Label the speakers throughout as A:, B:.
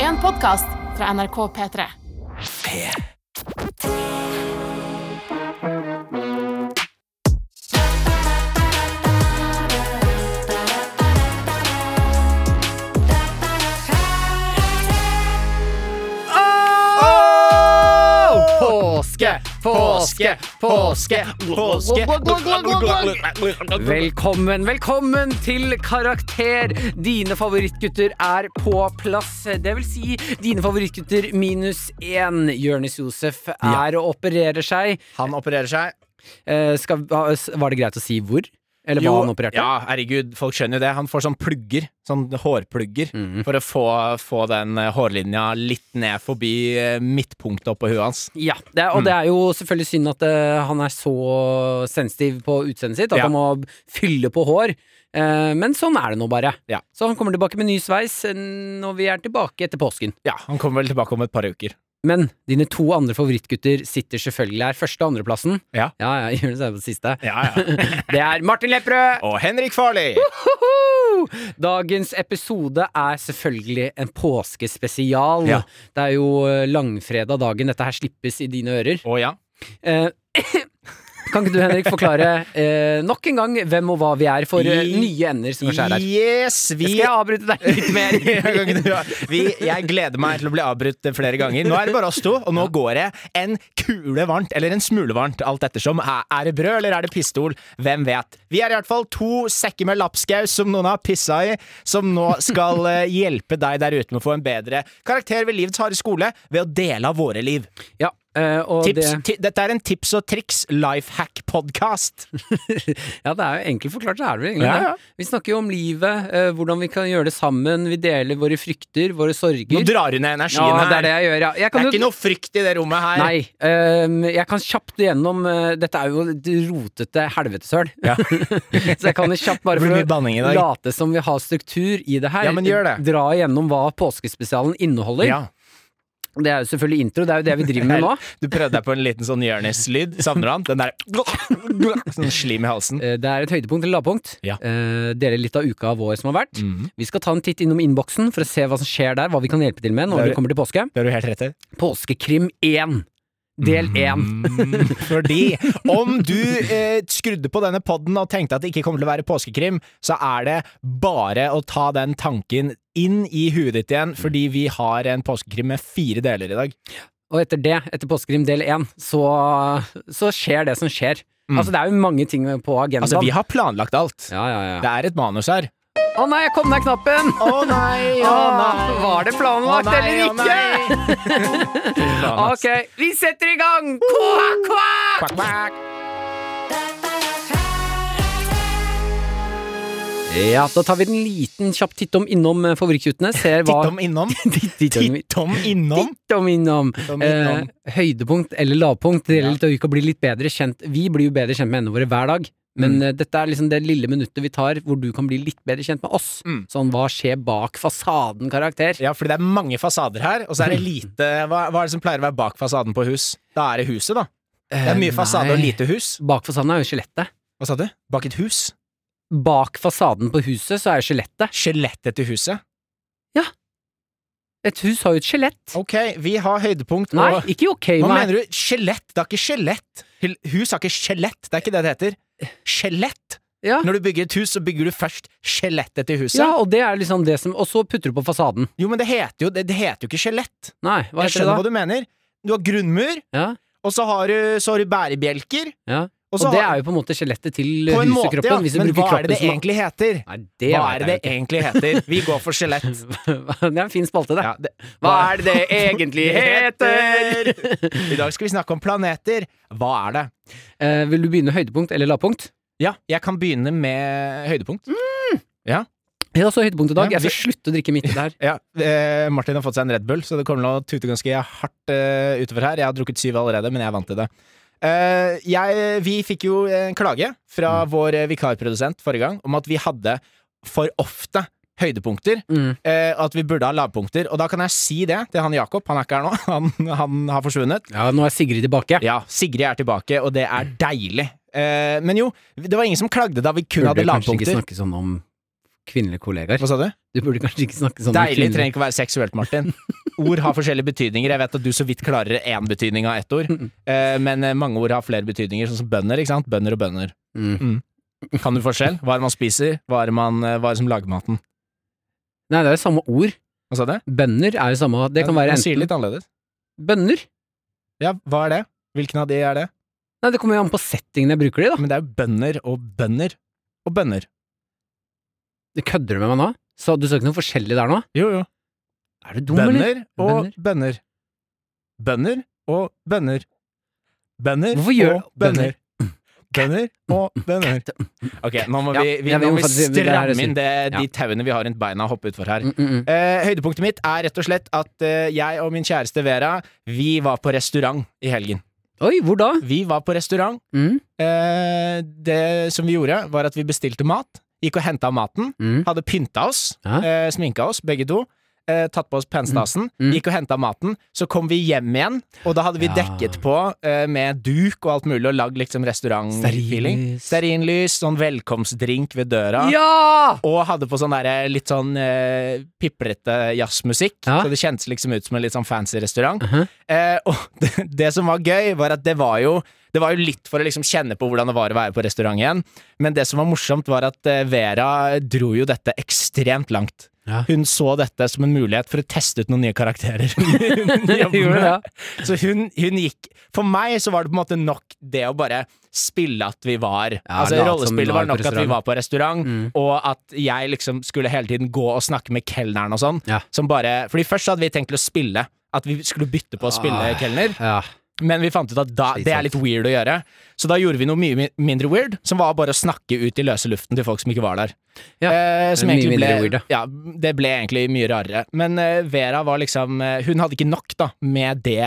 A: en podkast fra NRK P3.
B: Påske, påske, påske, påske. Velkommen, velkommen til Karakter. Dine favorittgutter er på plass. Det vil si dine favorittgutter minus én. Jonis Josef er og opererer seg.
C: Han opererer seg.
B: Eh, skal, hva- s- var det greit å si hvor? Eller hva han opererte?
C: Ja, herregud, folk skjønner jo det. Han får sånn plugger, sånn hårplugger,
B: Mhm.
C: for å få, få den eh, hårlinja litt ned forbi eh, midtpunktet oppå huet hans.
B: Ja, det
C: Mm.
B: er, og det er jo selvfølgelig synd at eh, han er så sensitiv på utseendet sitt, at
C: Ja.
B: han må fylle på hår. Eh, men sånn er det nå bare.
C: Ja.
B: Så han kommer tilbake med ny sveis eh, når vi er tilbake etter påsken.
C: Ja, han kommer vel tilbake om et par uker.
B: Men dine to andre favorittgutter sitter selvfølgelig her. Første- og andreplassen.
C: Ja.
B: ja, ja Jonis er på siste.
C: Ja, ja.
B: Det er Martin Lepperød!
C: Og Henrik Farley!
B: Hoho! Dagens episode er selvfølgelig en påskespesial.
C: Ja.
B: Det er jo eh, langfredag dagen dette her slippes i dine ører.
C: Å ja.
B: Eh, kan ikke du, Henrik, forklare eh, nok en gang hvem og hva vi er for eh,
C: I-
B: nye ender som kanskje er her?
C: Yes, vi
B: Skal jeg avbryte deg litt mer?
C: vi, jeg gleder meg til å bli avbrutt flere ganger. Nå er det bare oss to, og nå går det en kule varmt, eller en smule varmt, alt ettersom. Er, er det brød, eller er det pistol? Hvem vet. Vi er i hvert fall to sekker med lapskaus som noen har pissa i, som nå skal eh, hjelpe deg der ute med å få en bedre karakter ved livets harde skole ved å dele av våre liv.
B: Ja, eh, og
C: Tips,
B: det,
C: ti, dette er en tips og triks life hack-podkast.
B: ja, det er jo enkelt forklart, så er det vel egentlig
C: Ja, ja.
B: det. Vi snakker jo om livet, eh, hvordan vi kan gjøre det sammen. Vi deler våre frykter, våre
C: Nå
B: sorger.
C: drar du ned energien
B: Ja,
C: her.
B: det er det jeg gjør, ja. Jeg kan
C: det
B: jo-
C: er ikke noe frykt i det rommet her.
B: Nei, øhm, jeg kan kjapt gjennom øh, Dette er jo et rotete helvetesøl.
C: Ja.
B: så jeg kan jo kjapt bare
C: Det blir
B: for
C: mye banning i
B: å
C: dag.
B: late som vi har struktur i det her,
C: Ja, men gjør det.
B: dra igjennom hva påskespesialen inneholder.
C: Ja.
B: Det er jo selvfølgelig intro, det er jo det vi driver med nå.
C: Du prøvde deg på en liten sånn Jonis-lyd. Savner du han? Den der Sånn slim i halsen.
B: Eh, Det er et høydepunkt eller lavpunkt.
C: Ja.
B: Eh, Dele litt av uka vår som har vært.
C: Mhm.
B: Vi skal ta en titt innom innboksen for å se hva som skjer der, hva vi kan hjelpe til med
C: Det
B: når
C: er-
B: det kommer til påske.
C: Det har du helt rett i.
B: Påskekrim 1,
C: Mhm.
B: del 1.
C: Mm, fordi om du eh, skrudde på denne podden og tenkte at det ikke kommer til å være påskekrim, så er det bare å ta den tanken inn i huet ditt igjen, fordi vi har en påskekrim med fire deler i dag.
B: Og etter det, etter Påskekrim del 1, så, så skjer det som skjer.
C: Mm.
B: Altså, det er jo mange ting på agendaen.
C: Altså, vi har planlagt alt.
B: Ja, ja, ja.
C: Det er et manus her.
B: Å nei, jeg kom ned knappen!
C: Å nei,
B: Å, var det planlagt eller ikke? Ok, vi setter i gang! Kva, kva! Ja, da tar vi en liten kjapp titt om innom eh, favorittguttene. Ser hva
C: Tittom innom. Tittom innom.
B: Tittom innom.
C: Tittom
B: Eh,
C: innom.
B: høydepunkt eller lavpunkt
C: Ja.
B: deler litt av uka, blir litt bedre kjent. Vi blir jo bedre kjent med endene våre hver dag, men
C: Mm.
B: eh, dette er liksom det lille minuttet vi tar hvor du kan bli litt bedre kjent med oss.
C: Mm.
B: Sånn hva skjer bak fasaden, karakter.
C: Ja, fordi det er mange fasader her, og så er det lite hva, hva er det som pleier å være bak fasaden på hus? Da er det huset, da. Det
B: Eh,
C: er mye fasade og lite hus.
B: Bak fasaden er jo skjelettet.
C: Hva sa du? Bak et hus?
B: Bak fasaden på huset så er jo skjelettet.
C: Skjelettet til huset.
B: Et hus har jo et skjelett.
C: Ok, vi har høydepunkt
B: Nei,
C: og
B: ikke ok,
C: Hva
B: nei.
C: mener du? Skjelett? Det er ikke skjelett. Hel- Hus har ikke skjelett. Det er ikke det det heter. Skjelett!
B: Ja.
C: Når du bygger et hus, så bygger du først skjelettet til huset.
B: Ja, og det er liksom det som Og så putter du på fasaden.
C: Jo, men det heter jo, det, det heter jo ikke skjelett.
B: Nei, hva heter
C: Jeg
B: det
C: skjønner
B: da?
C: hva du mener. Du har grunnmur,
B: Ja,
C: og så har du, så har du bærebjelker.
B: ja.
C: Og
B: Og,
C: så
B: det
C: har-
B: er jo på en måte skjelettet til
C: På en måte,
B: husekroppen.
C: ja.
B: Hvis du
C: Men
B: bruker
C: hva er
B: kroppen
C: det det
B: som
C: egentlig heter?
B: Nei, det vet
C: Hva er
B: jeg
C: det
B: jo
C: det egentlig heter? Vi går for skjelett.
B: Det er en fin spalte, det.
C: Ja, det
B: Hva er det det egentlig heter?
C: I dag skal vi snakke om planeter. Hva er det?
B: Eh, vil du begynne høydepunkt eller lavpunkt?
C: Ja, jeg kan begynne med høydepunkt.
B: Ja, så høydepunkt i dag.
C: Ja,
B: Jeg skal slutte å drikke midt i det her.
C: Ja, eh, Martin har fått seg en Red Bull, så det kommer til å tute ganske hardt eh, utover her. Jeg har drukket syv allerede, men jeg er vant til det. Eh, jeg, vi fikk jo en klage fra vår eh, vikarprodusent forrige gang om at vi hadde for ofte høydepunkter.
B: Mm.
C: eh, at vi burde ha lavpunkter. Og da kan jeg si det til han Jakob. Han er ikke her nå. Han, han har forsvunnet.
B: Ja, nå er Sigrid tilbake.
C: Ja, Sigrid er tilbake, og det er deilig. Eh, men jo, det var ingen som klagde da vi
B: Burde
C: kun hadde
B: kanskje ikke
C: lavpunkter.
B: snakke sånn om kvinnelige kollegaer.
C: Hva sa du?
B: Du burde kanskje ikke snakke sånn
C: Deilig
B: om
C: trenger ikke å være seksuelt, Martin. ord har forskjellige betydninger. Jeg vet at du så vidt klarer én betydning av ett ord, Eh, men eh, mange ord har flere betydninger, sånn som bønder. ikke sant? Bønder og bønder. Mm. Kan du forskjell? Hva er det man spiser? Hva er det, man, eh, hva er det som lager maten?
B: Nei, det er jo samme ord.
C: Hva sa du?
B: Bønner er jo samme Det kan være
C: Man sier
B: enten
C: det litt annerledes.
B: Bønner?
C: Ja, hva er det? Hvilken av de er det?
B: Nei, det kommer jo an på settingen jeg bruker det i, da.
C: Men det er jo bønder og bønder og bønder.
B: Det kødder du med meg nå? Så du så ikke noe forskjellig der nå?
C: Jo, jo.
B: Er du dum, eller?
C: Bønder og bønder. Bønder og bønder. Bønder
B: Hvorfor gjør-
C: og bønder. Bønder og bønder. Ok, nå må
B: Ja,
C: vi, vi,
B: ja, vi
C: nå
B: må
C: må vi
B: faktisk- det er
C: stramme
B: det
C: inn det, de
B: Ja.
C: tauene vi har rundt beina og hoppe utfor her.
B: Mm, mm, mm.
C: Eh, høydepunktet mitt er rett og slett at eh, jeg og min kjæreste Vera Vi var på restaurant i helgen.
B: Oi, hvor da?
C: Vi var på restaurant
B: Mm,
C: Eh, det som vi gjorde, var at vi bestilte mat. Gikk og henta maten.
B: mm.
C: Hadde pynta oss.
B: Ja.
C: Eh, sminka oss, begge to. Eh, tatt på oss penstasen.
B: Mm. Mm.
C: Gikk og henta maten. Så kom vi hjem igjen, og da hadde vi
B: Ja.
C: dekket på eh, med duk og alt mulig, og lagd liksom restaurantfeeling.
B: Stearinlys.
C: Stearinlys, sånn velkomstdrink ved døra.
B: Ja!
C: Og hadde på sånn der, litt sånn eh, piprete jazzmusikk,
B: Ja.
C: så det kjentes liksom ut som en litt sånn fancy restaurant.
B: Mhm.
C: eh, og det, det som var gøy, var at det var jo det var jo litt for å liksom kjenne på hvordan det var å være på restaurant igjen. Men det som var morsomt, var at eh, Vera dro jo dette ekstremt langt.
B: Ja.
C: Hun så dette som en mulighet for å teste ut noen nye karakterer.
B: Jeg gjorde
C: Hun
B: det, ja.
C: så hun, hun gikk For meg så var det på en måte nok det å bare spille at vi var Altså
B: late som vi
C: Rollespillet
B: var på
C: var nok at vi
B: restaurant.
C: var på restaurant,
B: Mm.
C: og at jeg liksom skulle hele tiden gå og snakke med kelneren og sånn.
B: Ja.
C: Som bare Fordi først hadde vi tenkt til å spille. At vi skulle bytte på å spille
B: Ah.
C: kelner,
B: ja.
C: men vi fant ut at da, det er litt weird å gjøre. Så da gjorde vi noe mye mi- mindre weird, som var bare å snakke ut i løse luften til folk som ikke var der.
B: Ja,
C: Eh, som
B: mye
C: egentlig ble,
B: mindre weird, da.
C: ja, det ble egentlig mye rarere. Men eh, Vera var liksom eh, Hun hadde ikke nok da med det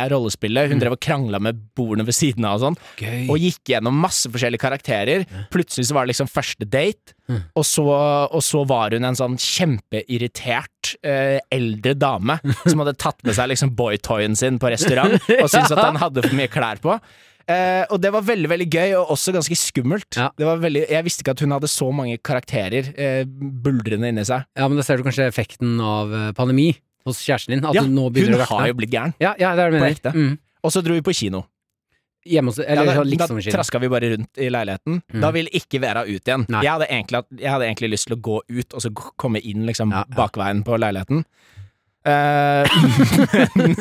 B: Mm.
C: rollespillet. Hun drev og krangla med bordene ved siden av og sånn.
B: Gøy.
C: Og gikk gjennom masse forskjellige karakterer. Plutselig så var det liksom første date,
B: Mm.
C: og, så, og så var hun en sånn kjempeirritert eh, eldre dame som hadde tatt med seg liksom boytoyen sin på restaurant og syntes at han hadde for mye klær på. Eh, og det var veldig veldig gøy, og også ganske skummelt.
B: Ja.
C: Det var veldig, jeg visste ikke at hun hadde så mange karakterer eh, buldrende inni seg.
B: Ja, men da ser du kanskje effekten av eh, pandemi hos kjæresten din. At
C: Ja,
B: du nå
C: hun
B: begynner å
C: har
B: rakne.
C: jo blitt gæren.
B: Ja, ja, det er det jeg
C: På ekte.
B: mener. Mm.
C: Og så dro vi på kino.
B: Hjemme hos
C: Ja,
B: Eller
C: da
B: sånn liksom Mm.
C: da traska vi bare rundt i leiligheten. Da ville ikke Vera ut igjen.
B: Nei.
C: Jeg hadde, egentlig, hatt- jeg hadde egentlig lyst til å gå ut og så g- komme inn liksom
B: Ja, ja.
C: bakveien på leiligheten. Eh, men,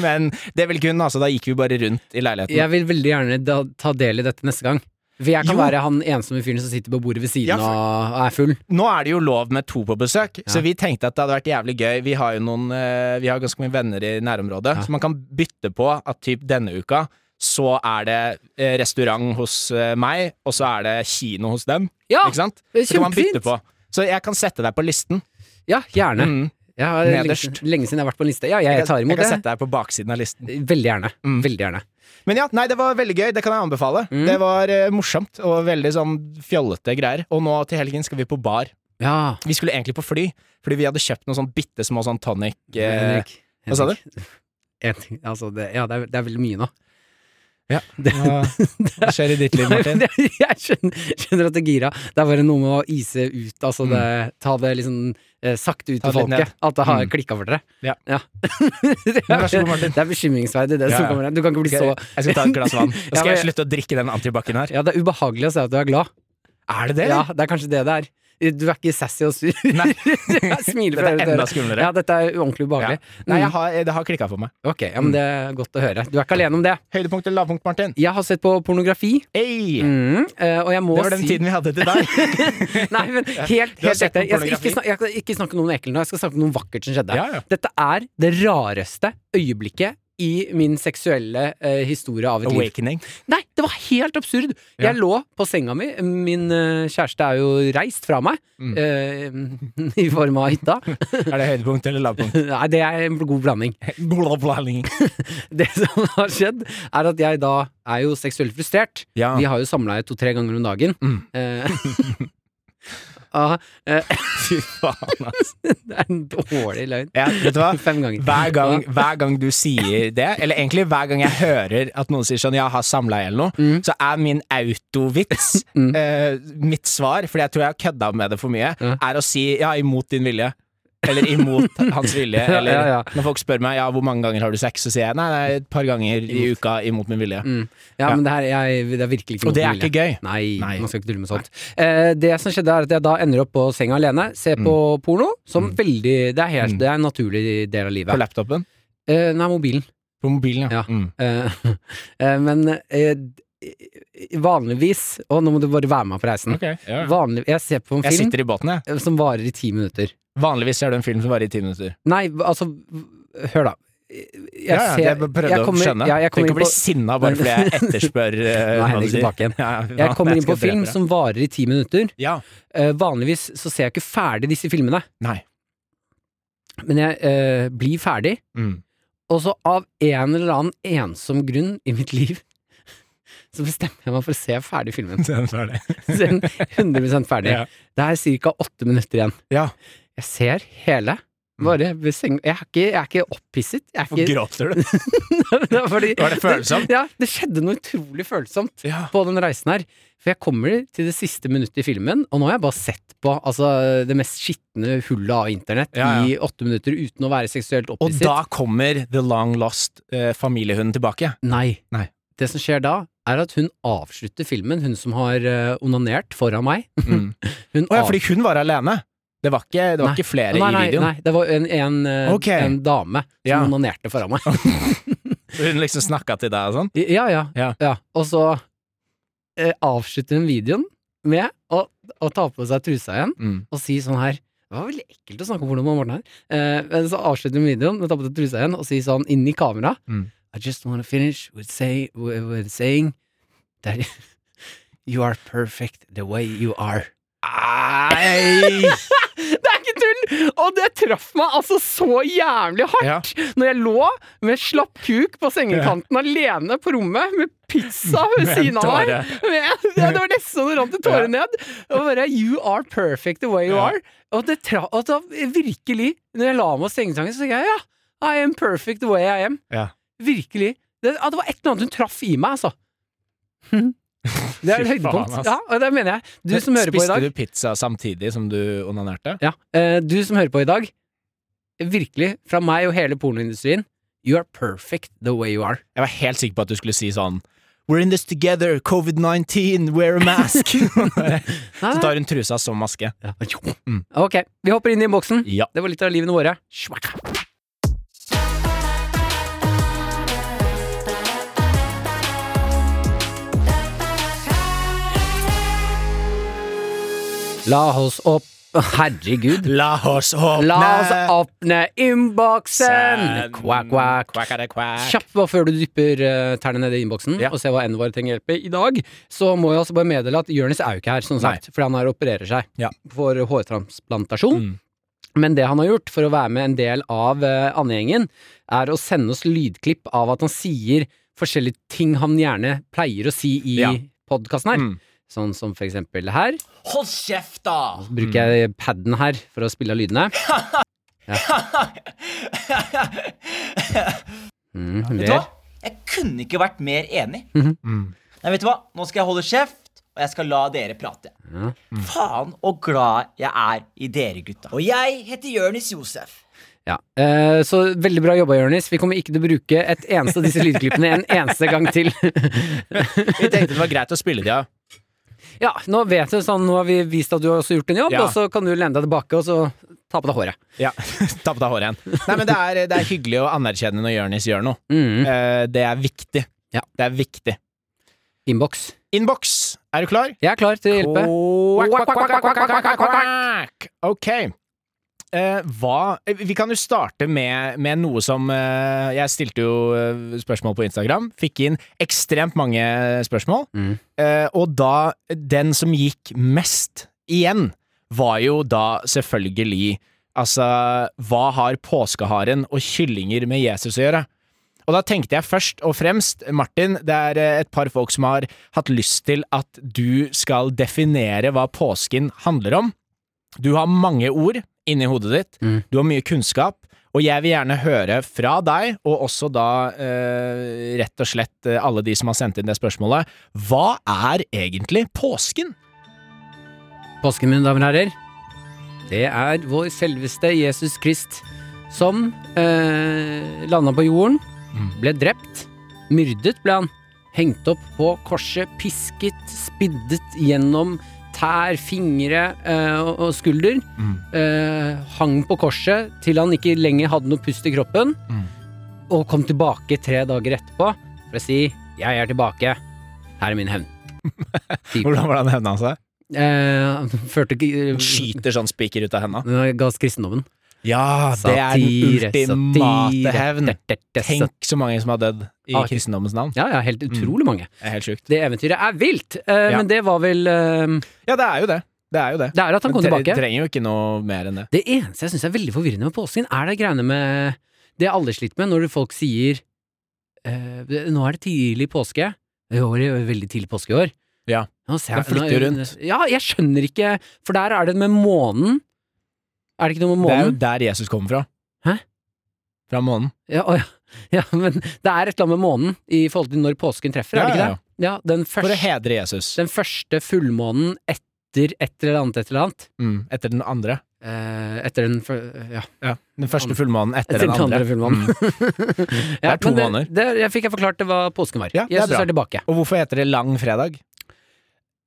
C: men det ville ikke hun, altså. Da gikk vi bare rundt i leiligheten.
B: Jeg vil veldig gjerne da, ta del i dette neste gang. For jeg kan
C: Jo.
B: være han ensomme fyren som sitter på bordet ved siden
C: Ja,
B: av
C: for-
B: og er full.
C: Nå er det jo lov med to på besøk,
B: Ja.
C: så vi tenkte at det hadde vært jævlig gøy. Vi har jo noen, eh, vi har ganske mye venner i nærområdet,
B: Ja.
C: så man kan bytte på at typ denne uka så er det eh, restaurant hos eh, meg, og så er det kino hos dem.
B: Ja,
C: Ikke sant?
B: det er
C: Så kan man bytte
B: kjempefint.
C: på. Så jeg kan sette deg på listen.
B: ja gjerne.
C: Mm.
B: Ja, det er lenge,
C: Nederst.
B: siden- lenge siden jeg har vært på en liste. Ja, jeg,
C: Jeg,
B: tar
C: jeg
B: imot
C: kan Mm.
B: det.
C: sette deg på baksiden av listen.
B: Veldig gjerne. Veldig gjerne.
C: Men ja, nei, det var veldig gøy. Det kan jeg anbefale.
B: Mm.
C: Det var eh, morsomt og veldig sånn fjollete greier. Og nå til helgen skal vi på bar.
B: Ja,
C: Vi skulle egentlig på fly, fordi vi hadde kjøpt noen sånn bitte små sånn tonic. Eh,
B: Henrik.
C: hva sa
B: du? En ting, altså det, ja, det er, det er veldig mye nå.
C: ja, det, det skjer i ditt liv, Martin.
B: jeg skjønner, skjønner at det er gira. Det er bare noe med å ise ut, altså det, ta det liksom eh, sakte ut
C: Mm. Ta
B: til
C: det litt ned.
B: folket. At det har
C: Mm.
B: klikka for dere.
C: Ja.
B: det,
C: Men vær så god,
B: er,
C: Martin.
B: det er bekymringsverdig, det
C: Ja,
B: som
C: ja.
B: kommer her. Du kan ikke bli så
C: Jeg skal ta et glass vann.
B: Ja,
C: Da skal
B: men-
C: jeg slutte å drikke den antibac-en her.
B: Ja, det er ubehagelig å se at du er glad.
C: Er det det?
B: Ja,
C: eller?
B: det er kanskje det det er. Du er ikke sassy og sur.
C: Nei.
B: Jeg smiler fra øre til
C: Dette er enda
B: øre.
C: skumlere.
B: Ja, dette er ordentlig ubehagelig.
C: Nei, jeg har, det har klikka for meg.
B: Ok, ja,
C: Mm.
B: men det er godt å høre. Du er ikke alene om det.
C: Høydepunkt eller lavpunkt, Martin?
B: Jeg har sett på pornografi,
C: Ei!
B: mm, eh, og jeg må
C: Det var den
B: si
C: tiden vi hadde til deg.
B: Nei, men helt,
C: Du har
B: helt
C: sett
B: ekte.
C: på
B: Jeg skal
C: pornografi?
B: ikke snakke, jeg skal ikke snakke om noe ekkelt nå, jeg skal snakke om noe vakkert som skjedde.
C: Ja, ja.
B: Dette er det rareste øyeblikket i min seksuelle eh, historie av et liv.
C: Awakening.
B: Nei, det var helt absurd!
C: Ja.
B: Jeg lå på senga mi, min eh, kjæreste er jo reist fra meg,
C: Mm.
B: eh, i form av hytta.
C: Er det høydepunkt eller lavpunkt?
B: Nei, det er en god blanding.
C: Blablabla.
B: Det som har skjedd, er at jeg da er jo seksuelt frustrert.
C: Ja.
B: Vi har jo samleie to-tre ganger om dagen.
C: Mm.
B: Eh, ah, eh,
C: Fy faen, altså.
B: det er en dårlig løgn.
C: Ja, vet du hva?
B: Fem ganger.
C: Hver gang, hver gang du sier det, eller egentlig hver gang jeg hører at noen sier sånn 'jeg har samleie' eller noe,
B: Mm.
C: så er min autovits
B: Mm.
C: eh, Mitt svar, fordi jeg tror jeg har kødda med det for mye,
B: Ja.
C: er å si 'ja, imot din vilje'. Eller imot hans vilje.
B: Ja,
C: Eller
B: ja, ja.
C: når folk spør meg ja, hvor mange ganger har du sex, så sier jeg nei, nei et par ganger i uka imot Mm. min vilje.
B: Ja,
C: Ja.
B: men det, her, jeg, det er virkelig ikke
C: Og det
B: noe
C: er ikke
B: mulig.
C: gøy.
B: Nei,
C: Nei.
B: man skal ikke tulle med sånt. Eh, det som skjedde, er at jeg da ender opp på senga alene, ser
C: Mm.
B: på porno, som veldig Det er, helt, det er en naturlig del av
C: På
B: livet.
C: laptopen.
B: Eh, nei, mobilen.
C: På mobilen,
B: Ja.
C: ja. Mm.
B: Eh, eh, men eh, vanligvis Og nå må du bare være med på reisen.
C: Ok, ja, ja.
B: Vanlig, jeg ser på en
C: Jeg
B: film
C: sitter i båten, jeg.
B: eh, som varer i ti minutter.
C: Vanligvis ser du en film som varer i ti minutter.
B: Nei, altså Hør, da. Jeg
C: Ja, ja, jeg bare prøvde
B: jeg kommer-
C: å skjønne.
B: Ja, jeg
C: Tenk
B: kommer
C: å
B: inn
C: bli
B: på
C: sinna bare fordi jeg etterspør uh,
B: Nå er Henrik tilbake igjen.
C: Ja, ja,
B: Jeg kommer inn på
C: skal
B: film
C: drepe deg.
B: som varer i ti minutter.
C: Ja.
B: Eh, vanligvis så ser jeg ikke ferdig disse filmene,
C: Nei.
B: men jeg eh, blir ferdig,
C: Mm.
B: og så av en eller annen ensom grunn i mitt liv, så bestemmer jeg meg for å se ferdig filmen.
C: Den er ferdig.
B: Se den 100 ferdig.
C: Ja.
B: Det er ca. åtte minutter igjen.
C: Ja. Mm.
B: Jeg ser hele. Bare ved seng... Jeg er ikke, jeg er ikke opphisset. Jeg er
C: Hvorfor
B: ikke...
C: gråter du?
B: Det er fordi-
C: Var det følsomt?
B: Ja, det skjedde noe utrolig følsomt.
C: Ja.
B: på den reisen her. For jeg kommer til det siste minuttet i filmen, og nå har jeg bare sett på altså, det mest skitne hullet av internett
C: Ja, ja.
B: i åtte minutter uten å være seksuelt
C: Og
B: opphisset.
C: da kommer the long lost eh, familiehunden tilbake.
B: Nei.
C: Nei.
B: Det som skjer da, er at hun avslutter filmen, hun som har eh, onanert foran meg.
C: Mm.
B: Hun
C: Å ja, fordi hun var alene. Det var ikke, det var
B: Nei.
C: ikke flere
B: nei, nei,
C: i videoen.
B: nei, det var en, en, eh,
C: Ok.
B: en dame som
C: Ja.
B: onanerte foran meg.
C: Hun liksom snakka til deg og sånn.
B: Ja, ja.
C: Ja.
B: Og så eh, avslutter hun videoen med å, å ta på seg trusa igjen.
C: Mm.
B: og si sånn her Det var veldig ekkelt å snakke om hvordan man ordner her. Eh, men så avslutter hun videoen med å ta på seg trusa igjen og si sånn inn i kamera
C: Mm.
B: I just wanna finish with, say, with, with saying that you are perfect the way you are.
C: Nei!
B: Det er ikke tull! Og det traff meg altså så jævlig hardt
C: Ja.
B: når jeg lå med slapp kuk på sengekanten alene på rommet med pizza ved
C: Med en
B: siden av meg.
C: tåre.
B: Med, ja, det var nesten så det rant en tåre
C: Ja.
B: ned. Og bare You are perfect the way you
C: Ja.
B: are. Og det tra og da, virkelig, når jeg la meg av sengesangen, så tenkte jeg ja, I am perfect the way I am.
C: Ja.
B: Virkelig. Det, ja, det var et eller annet hun traff i meg, altså. Det er et
C: Fy faen,
B: høydepunkt.
C: ass.
B: Ja, og det mener jeg. Du som hører på i dag.
C: Spiste du pizza samtidig som du onanerte?
B: Ja, eh, du som hører på i dag, virkelig, fra meg og hele pornoindustrien, you are perfect the way you are.
C: Jeg var helt sikker på at du skulle si sånn We're in this together, covid-19, wear a mask. så
B: Nei, nei.
C: tar hun trusa som maske.
B: Ja.
C: Mm.
B: Ok, vi hopper inn i boksen.
C: Ja.
B: Det var litt av livene våre. Shwaka. La oss opp Herregud.
C: La oss åpne
B: La oss åpne innboksen! Kvakk, kvakk.
C: Kjapp.
B: Kjapt bare før du dypper uh, tærne ned i innboksen
C: Ja.
B: og ser hva enn våre trenger hjelp med i dag, så må jeg altså bare meddele at Jonis er jo ikke her, som
C: Nei.
B: sagt, fordi han her opererer seg
C: Ja.
B: for hårtransplantasjon.
C: Mm.
B: Men det han har gjort for å være med en del av uh, andegjengen, er å sende oss lydklipp av at han sier forskjellige ting han gjerne pleier å si i
C: Ja.
B: podkasten her.
C: Mm.
B: Sånn som for eksempel her.
D: Hold kjeft, da!
B: Så
C: Mm.
B: bruker jeg paden her for å spille av lydene. Mm,
D: Vet du hva? Jeg kunne ikke vært mer enig. Nei, vet du hva? Nå skal jeg holde kjeft, og jeg skal la dere prate.
B: Ja.
D: Faen og glad jeg er i dere, gutta. Mm. Og jeg heter Jørnis Josef.
B: Ja, eh, Så veldig bra jobba, Jonis. Vi kommer ikke til å bruke et eneste av disse lydklippene en eneste gang til.
C: Vi tenkte det var greit å spille det av.
B: ja, Nå vet du sånn, nå har vi vist at du har også gjort en jobb,
C: Ja.
B: og så kan du lene deg tilbake og så ta på deg håret.
C: Ja. Ta på deg håret igjen. Nei, men det er, det er hyggelig å anerkjenne når Jonis gjør noe.
B: Mm.
C: Eh, det er viktig.
B: Ja.
C: Det er viktig.
B: Innboks.
C: Innboks, er du klar?
B: Jeg er klar til å hjelpe.
C: Quack, quack, quack, quack, quack, quack, quack, quack. Ok. Eh, hva eh, Vi kan jo starte med, med noe som eh, Jeg stilte jo eh, spørsmål på Instagram. Fikk inn ekstremt mange spørsmål.
B: Mm.
C: Eh, og da Den som gikk mest igjen, var jo da selvfølgelig Altså, hva har påskeharen og kyllinger med Jesus å gjøre? Og da tenkte jeg først og fremst, Martin, det er eh, et par folk som har hatt lyst til at du skal definere hva påsken handler om. Du har mange ord inni hodet ditt,
B: Mm.
C: du har mye kunnskap, og jeg vil gjerne høre fra deg, og også da eh, rett og slett eh, alle de som har sendt inn det spørsmålet, hva er egentlig påsken?
B: Påsken min, damer og herrer, Det er vår selveste Jesus Krist som eh, landa på jorden, ble drept, myrdet ble han, hengt opp på korset, pisket, spiddet gjennom tær, fingre eh, og- og skulder. Eh, hang på korset til han ikke lenger hadde noe pust i kroppen, og kom tilbake tre dager etterpå for å si 'jeg er tilbake, her er min hevn'.
C: Hvordan var det han hevna
B: Mm.
C: seg?
B: Eh, førte ikke
C: Skyter sånn spiker ut av henda.
B: Nå ga oss kristendommen.
C: Ja, det er
B: Satire,
C: den ultimate
B: satire.
C: hevn.
B: Tenk.
C: Tenk så mange som har dødd i
B: Ah,
C: kristendommens navn.
B: Ja, ja, helt utrolig mange.
C: Det er helt sjukt.
B: Det eventyret er vilt, eh,
C: Ja.
B: men det var vel eh,
C: Ja, det er jo det. Det er jo det.
B: Det er at han kom
C: Men tre-
B: tilbake.
C: Trenger jo ikke noe mer enn det.
B: Det eneste jeg syns er veldig forvirrende med påsken, er det greiene med Det alle sliter med når folk sier eh, det- Nå er det tidlig påske. I år er det veldig tidlig påske i år.
C: Ja.
B: Nå ser
C: Den flytter
B: nå-
C: rundt.
B: Ja, jeg skjønner ikke For der er det med månen. Er det ikke noe med
C: Det er jo
B: månen?
C: der Jesus kommer fra.
B: Hæ?
C: Fra månen.
B: Ja, å, ja. ja, men det er et eller annet med månen i forhold til når påsken treffer, er det ikke
C: Ja, ja,
B: det? Ja, den
C: For
B: første,
C: å hedre Jesus
B: den første fullmånen etter et eller annet et eller annet.
C: mm, etter den andre.
B: Eh, etter den fø- Ja.
C: Ja, den første fullmånen etter,
B: Etter
C: den andre.
B: fullmånen.
C: Mm.
B: Ja,
C: to
B: men
C: måneder.
B: Det, jeg fikk jeg forklart det hva påsken var.
C: Ja, det er
B: Jesus
C: bra.
B: er tilbake.
C: Og hvorfor heter det lang fredag?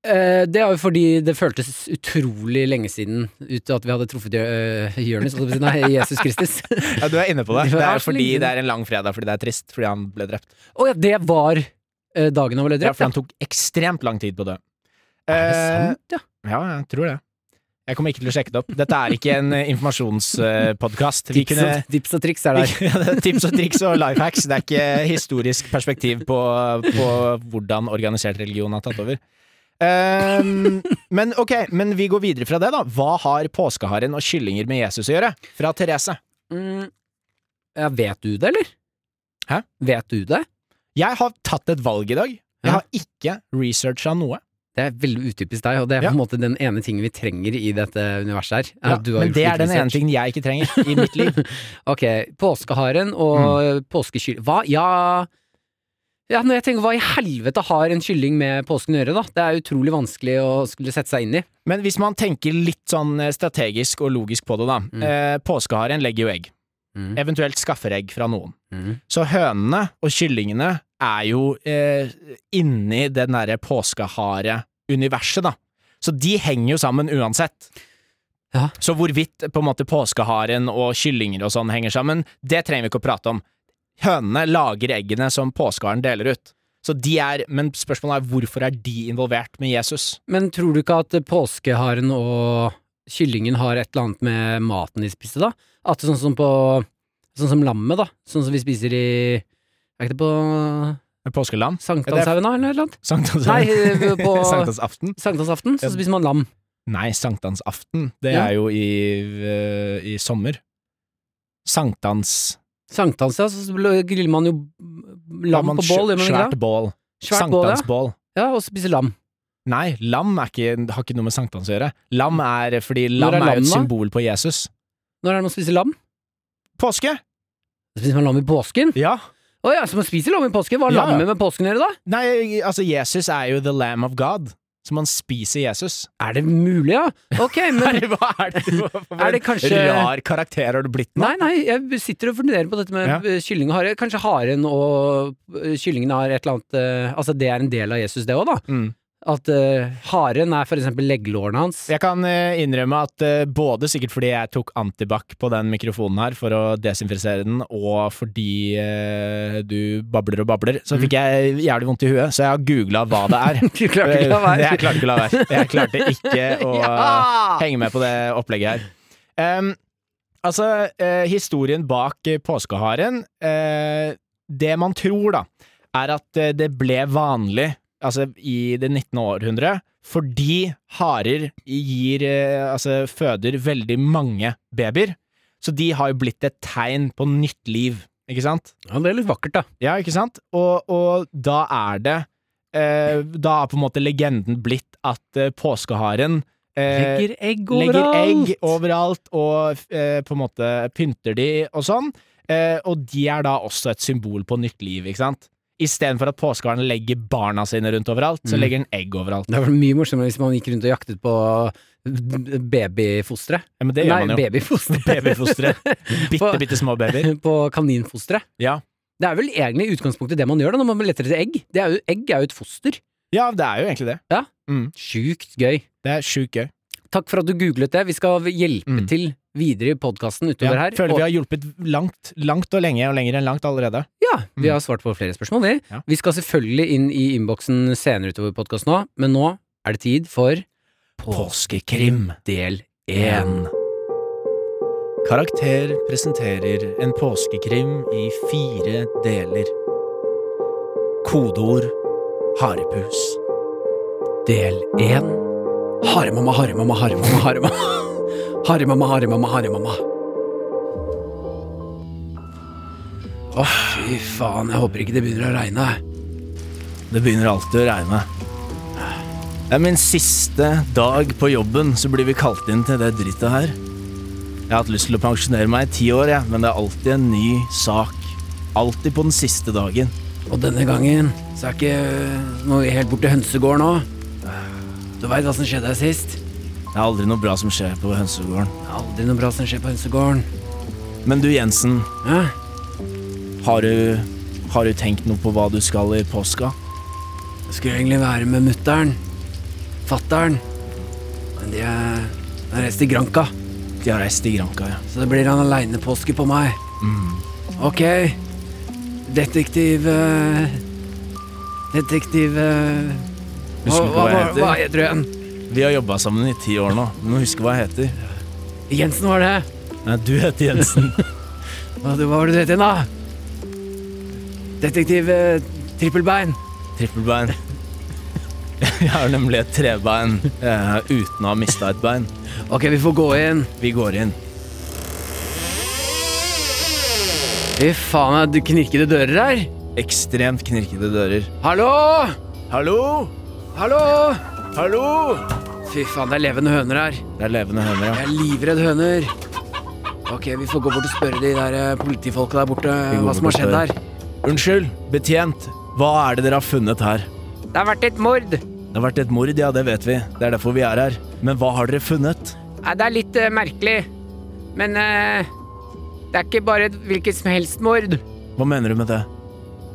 B: Eh, det er jo fordi det føltes utrolig lenge siden ut til at vi hadde truffet uh, Jonis, holdt jeg på å si. Nei, Jesus Kristus. Å
C: Ja, du er inne på det.
B: Det
C: Det
B: var
C: er
B: så
C: fordi
B: lenge.
C: det er en lang fredag fordi det er trist, fordi han ble drept.
B: ja, det var eh, dagen han ble
C: Ja,
B: drept,
C: for
B: ja.
C: han tok ekstremt lang tid på det.
B: Er det
C: Eh,
B: sant, ja?
C: Ja, jeg tror det. Jeg kommer ikke til å sjekke det opp. Dette er ikke en informasjonspodkast. Vi
B: Tips,
C: kunne
B: og, tips og triks er der.
C: vi- ja, det er Tips og triks og life hacks. Det er ikke historisk perspektiv på, på hvordan organisert religion har tatt over. Ehm, men ok, men vi går videre fra det, da. Hva har påskeharen og kyllinger med Jesus å gjøre? Fra Therese.
B: Mm. Ja, vet du det, eller?
C: Hæ?
B: Vet du det?
C: Jeg har tatt et valg i dag. Jeg har ikke researcha noe.
B: Det er veldig utypisk deg, og det er på
C: Ja.
B: en måte den ene tingen vi trenger i dette universet her. er
C: Ja,
B: at du har
C: men
B: gjort
C: det
B: litt
C: er den ene
B: research.
C: tingen jeg ikke trenger i mitt liv.
B: Ok, påskeharen og
C: Mm.
B: påskekyll... Hva? Ja ja, når jeg tenker, Hva i helvete har en kylling med påsken å gjøre? da? Det er utrolig vanskelig å skulle sette seg inn i.
C: Men hvis man tenker litt sånn eh, strategisk og logisk på det, da. Eh, påskeharen legger jo egg.
B: Mm.
C: Eventuelt skaffer egg fra noen.
B: Mm.
C: Så hønene og kyllingene er jo eh, inni det derre påskehare-universet, da. Så de henger jo sammen uansett.
B: Ja.
C: Så hvorvidt på en måte påskeharen og kyllinger og sånn henger sammen, det trenger vi ikke å prate om. Hønene lager eggene som påskeharen deler ut. Så de er, Men spørsmålet er hvorfor er de involvert med Jesus?
B: Men tror du ikke at påskeharen og kyllingen har et eller annet med maten de spiste, da? At det er sånn som på Sånn som lammet, da. Sånn som vi spiser i Er ikke det på
C: Påskelam?
B: sankthanshaugen, da, eller noe annet? Nei, eh, på
C: Sankthansaften?
B: sankthansaften så spiser man lam.
C: Nei, sankthansaften. Det
B: Ja.
C: er jo i, eh, i sommer. Sankthans
B: Sankthans, ja, så griller man jo
C: Da har
B: lam
C: man
B: på bål, gjør man ikke
C: Svært
B: det?
C: bål.
B: Svært bål, ja.
C: Sankthansbål.
B: Ja, og spiser lam.
C: Nei, lam er ikke, har ikke noe med sankthans å gjøre. Lam er fordi lam
B: er
C: er, jo
B: lam,
C: et
B: da?
C: symbol på Jesus.
B: Når er det man spiser lam?
C: Påske!
B: Spiser man lam i påsken?
C: Ja.
B: Å ja, så man spiser lam i påsken? Hva har
C: Ja, ja.
B: lammet med påsken å gjøre, da?
C: Nei, altså, Jesus er jo the lamb of God. Så man spiser Jesus.
B: Er det mulig, ja? Ok, men
C: Herre, hva er det du
B: Er det kanskje-
C: Rar karakter har du blitt nå?
B: Nei, nei, jeg sitter og funderer på dette med
C: Ja.
B: eh, kylling og hare. Kanskje haren og eh, kyllingen har et eller annet eh, Altså, det er en del av Jesus, det òg, da.
C: Mm.
B: At eh, haren er for eksempel legglårene hans.
C: Jeg kan eh, innrømme at eh, både sikkert fordi jeg tok antibac på den mikrofonen her for å desinfisere den, og fordi eh, du babler og babler, så
B: Mm.
C: fikk jeg jævlig vondt i huet, så jeg har googla hva det er. Eh,
B: Du klarte ikke å la være.
C: Jeg klarte ikke å la være. Jeg klarte ikke å
B: Ja!
C: henge med på det opplegget her. Em, altså, eh, historien bak eh, påskeharen eh, Det man tror, da, er at eh, det ble vanlig altså, i det 19. århundret fordi harer gir eh, Altså føder veldig mange babyer. Så de har jo blitt et tegn på nytt liv, ikke sant?
B: Ja, det er litt vakkert, da.
C: Ja, ikke sant? Og, og da er det eh, Da har på en måte legenden blitt at eh, påskeharen eh,
B: Legger egg
C: legger
B: overalt.
C: egg overalt og eh, på en måte pynter de og sånn. Eh, og de er da også et symbol på nytt liv, ikke sant? Istedenfor at påskeharen legger barna sine rundt overalt, så
B: Mm.
C: legger den egg overalt.
B: Det var mye morsommere hvis man gikk rundt og jaktet på b- babyfosteret.
C: Ja, men det gjør
B: Nei,
C: man jo.
B: babyfosteret.
C: Babyfostre. Bitte, bitte små babyer.
B: På kaninfosteret.
C: Ja.
B: Det er vel egentlig i utgangspunktet det man gjør da, når man leter etter egg. Det er jo, egg er jo et foster.
C: ja, det er jo egentlig det.
B: Sjukt gøy.
C: Det er sjukt gøy.
B: Takk for at du googlet det. Vi skal hjelpe
C: Mm.
B: til videre i podkasten utover
C: Ja,
B: her.
C: føler
B: Og-
C: vi har hjulpet langt, langt og lenge, og lenger enn langt allerede.
B: Ja, vi
C: Mm.
B: har svart på flere spørsmål, vi.
C: Ja.
B: Vi skal selvfølgelig inn i innboksen senere utover podkasten òg, men nå er det tid for
C: Påskekrim.
B: del én.
C: En Karakter presenterer en påskekrim i fire deler. Kodeord harepus.
B: Del én. Haremamma, haremamma, haremamma, haremamma. Haremamma, haremamma, haremamma. Å, fy faen, jeg håper ikke det begynner å regne.
C: Det begynner alltid å regne. Det er min siste dag på jobben, så blir vi kalt inn til det drittet her. Jeg har hatt lyst til å pensjonere meg i ti år, jeg, men det er alltid en ny sak. Alltid på den siste dagen.
B: Og denne gangen så er ikke Nå er vi helt borte til hønsegården nå. Du veit hva som skjedde her sist?
C: Det er aldri noe bra som skjer på hønsegården.
B: Det er Aldri noe bra som skjer på hønsegården.
C: Men du, Jensen,
B: Hæ?
C: har du, har du tenkt noe på hva du skal i påska?
B: Jeg skulle egentlig være med mutter'n. Fatter'n. Men de er, de har reist til Granca.
C: De har reist til Granca, ja.
B: Så det blir en aleineposke på meg.
C: Mm.
B: Ok. Detektiv eh, Detektiv eh,
C: Husker du ikke hva jeg heter?
B: hva heter du igjen?
C: Vi har jobba sammen i ti år nå. Du må huske hva jeg heter.
B: Jensen var det.
C: Nei, du heter Jensen.
B: Hva, hva var det du het igjen, da? Detektiv eh, Trippelbein.
C: Trippelbein. Jeg har nemlig et trebein eh, uten å ha mista et bein.
B: Ok, vi får gå inn.
C: Vi går inn.
B: Fy faen, det er knirkede dører her.
C: Ekstremt knirkede dører.
B: Hallo!
C: Hallo!
B: Hallo!
C: Hallo!
B: Fy faen, det er levende høner her.
C: Det er levende høner,
B: Jeg
C: ja.
B: er livredd høner. Ok, vi får gå bort og spørre de der eh, politifolka der borte
C: går
B: Eh, hva som
C: bort
B: har skjedd
C: og spør.
B: her.
C: Unnskyld, betjent. Hva er det dere har funnet her?
B: Det har vært et mord.
C: Det har vært et mord, ja, det vet vi. Det er derfor vi er her. Men hva har dere funnet?
B: Nei, det er litt eh, merkelig. Men eh, det er ikke bare et hvilket som helst mord.
C: Hva mener du med det?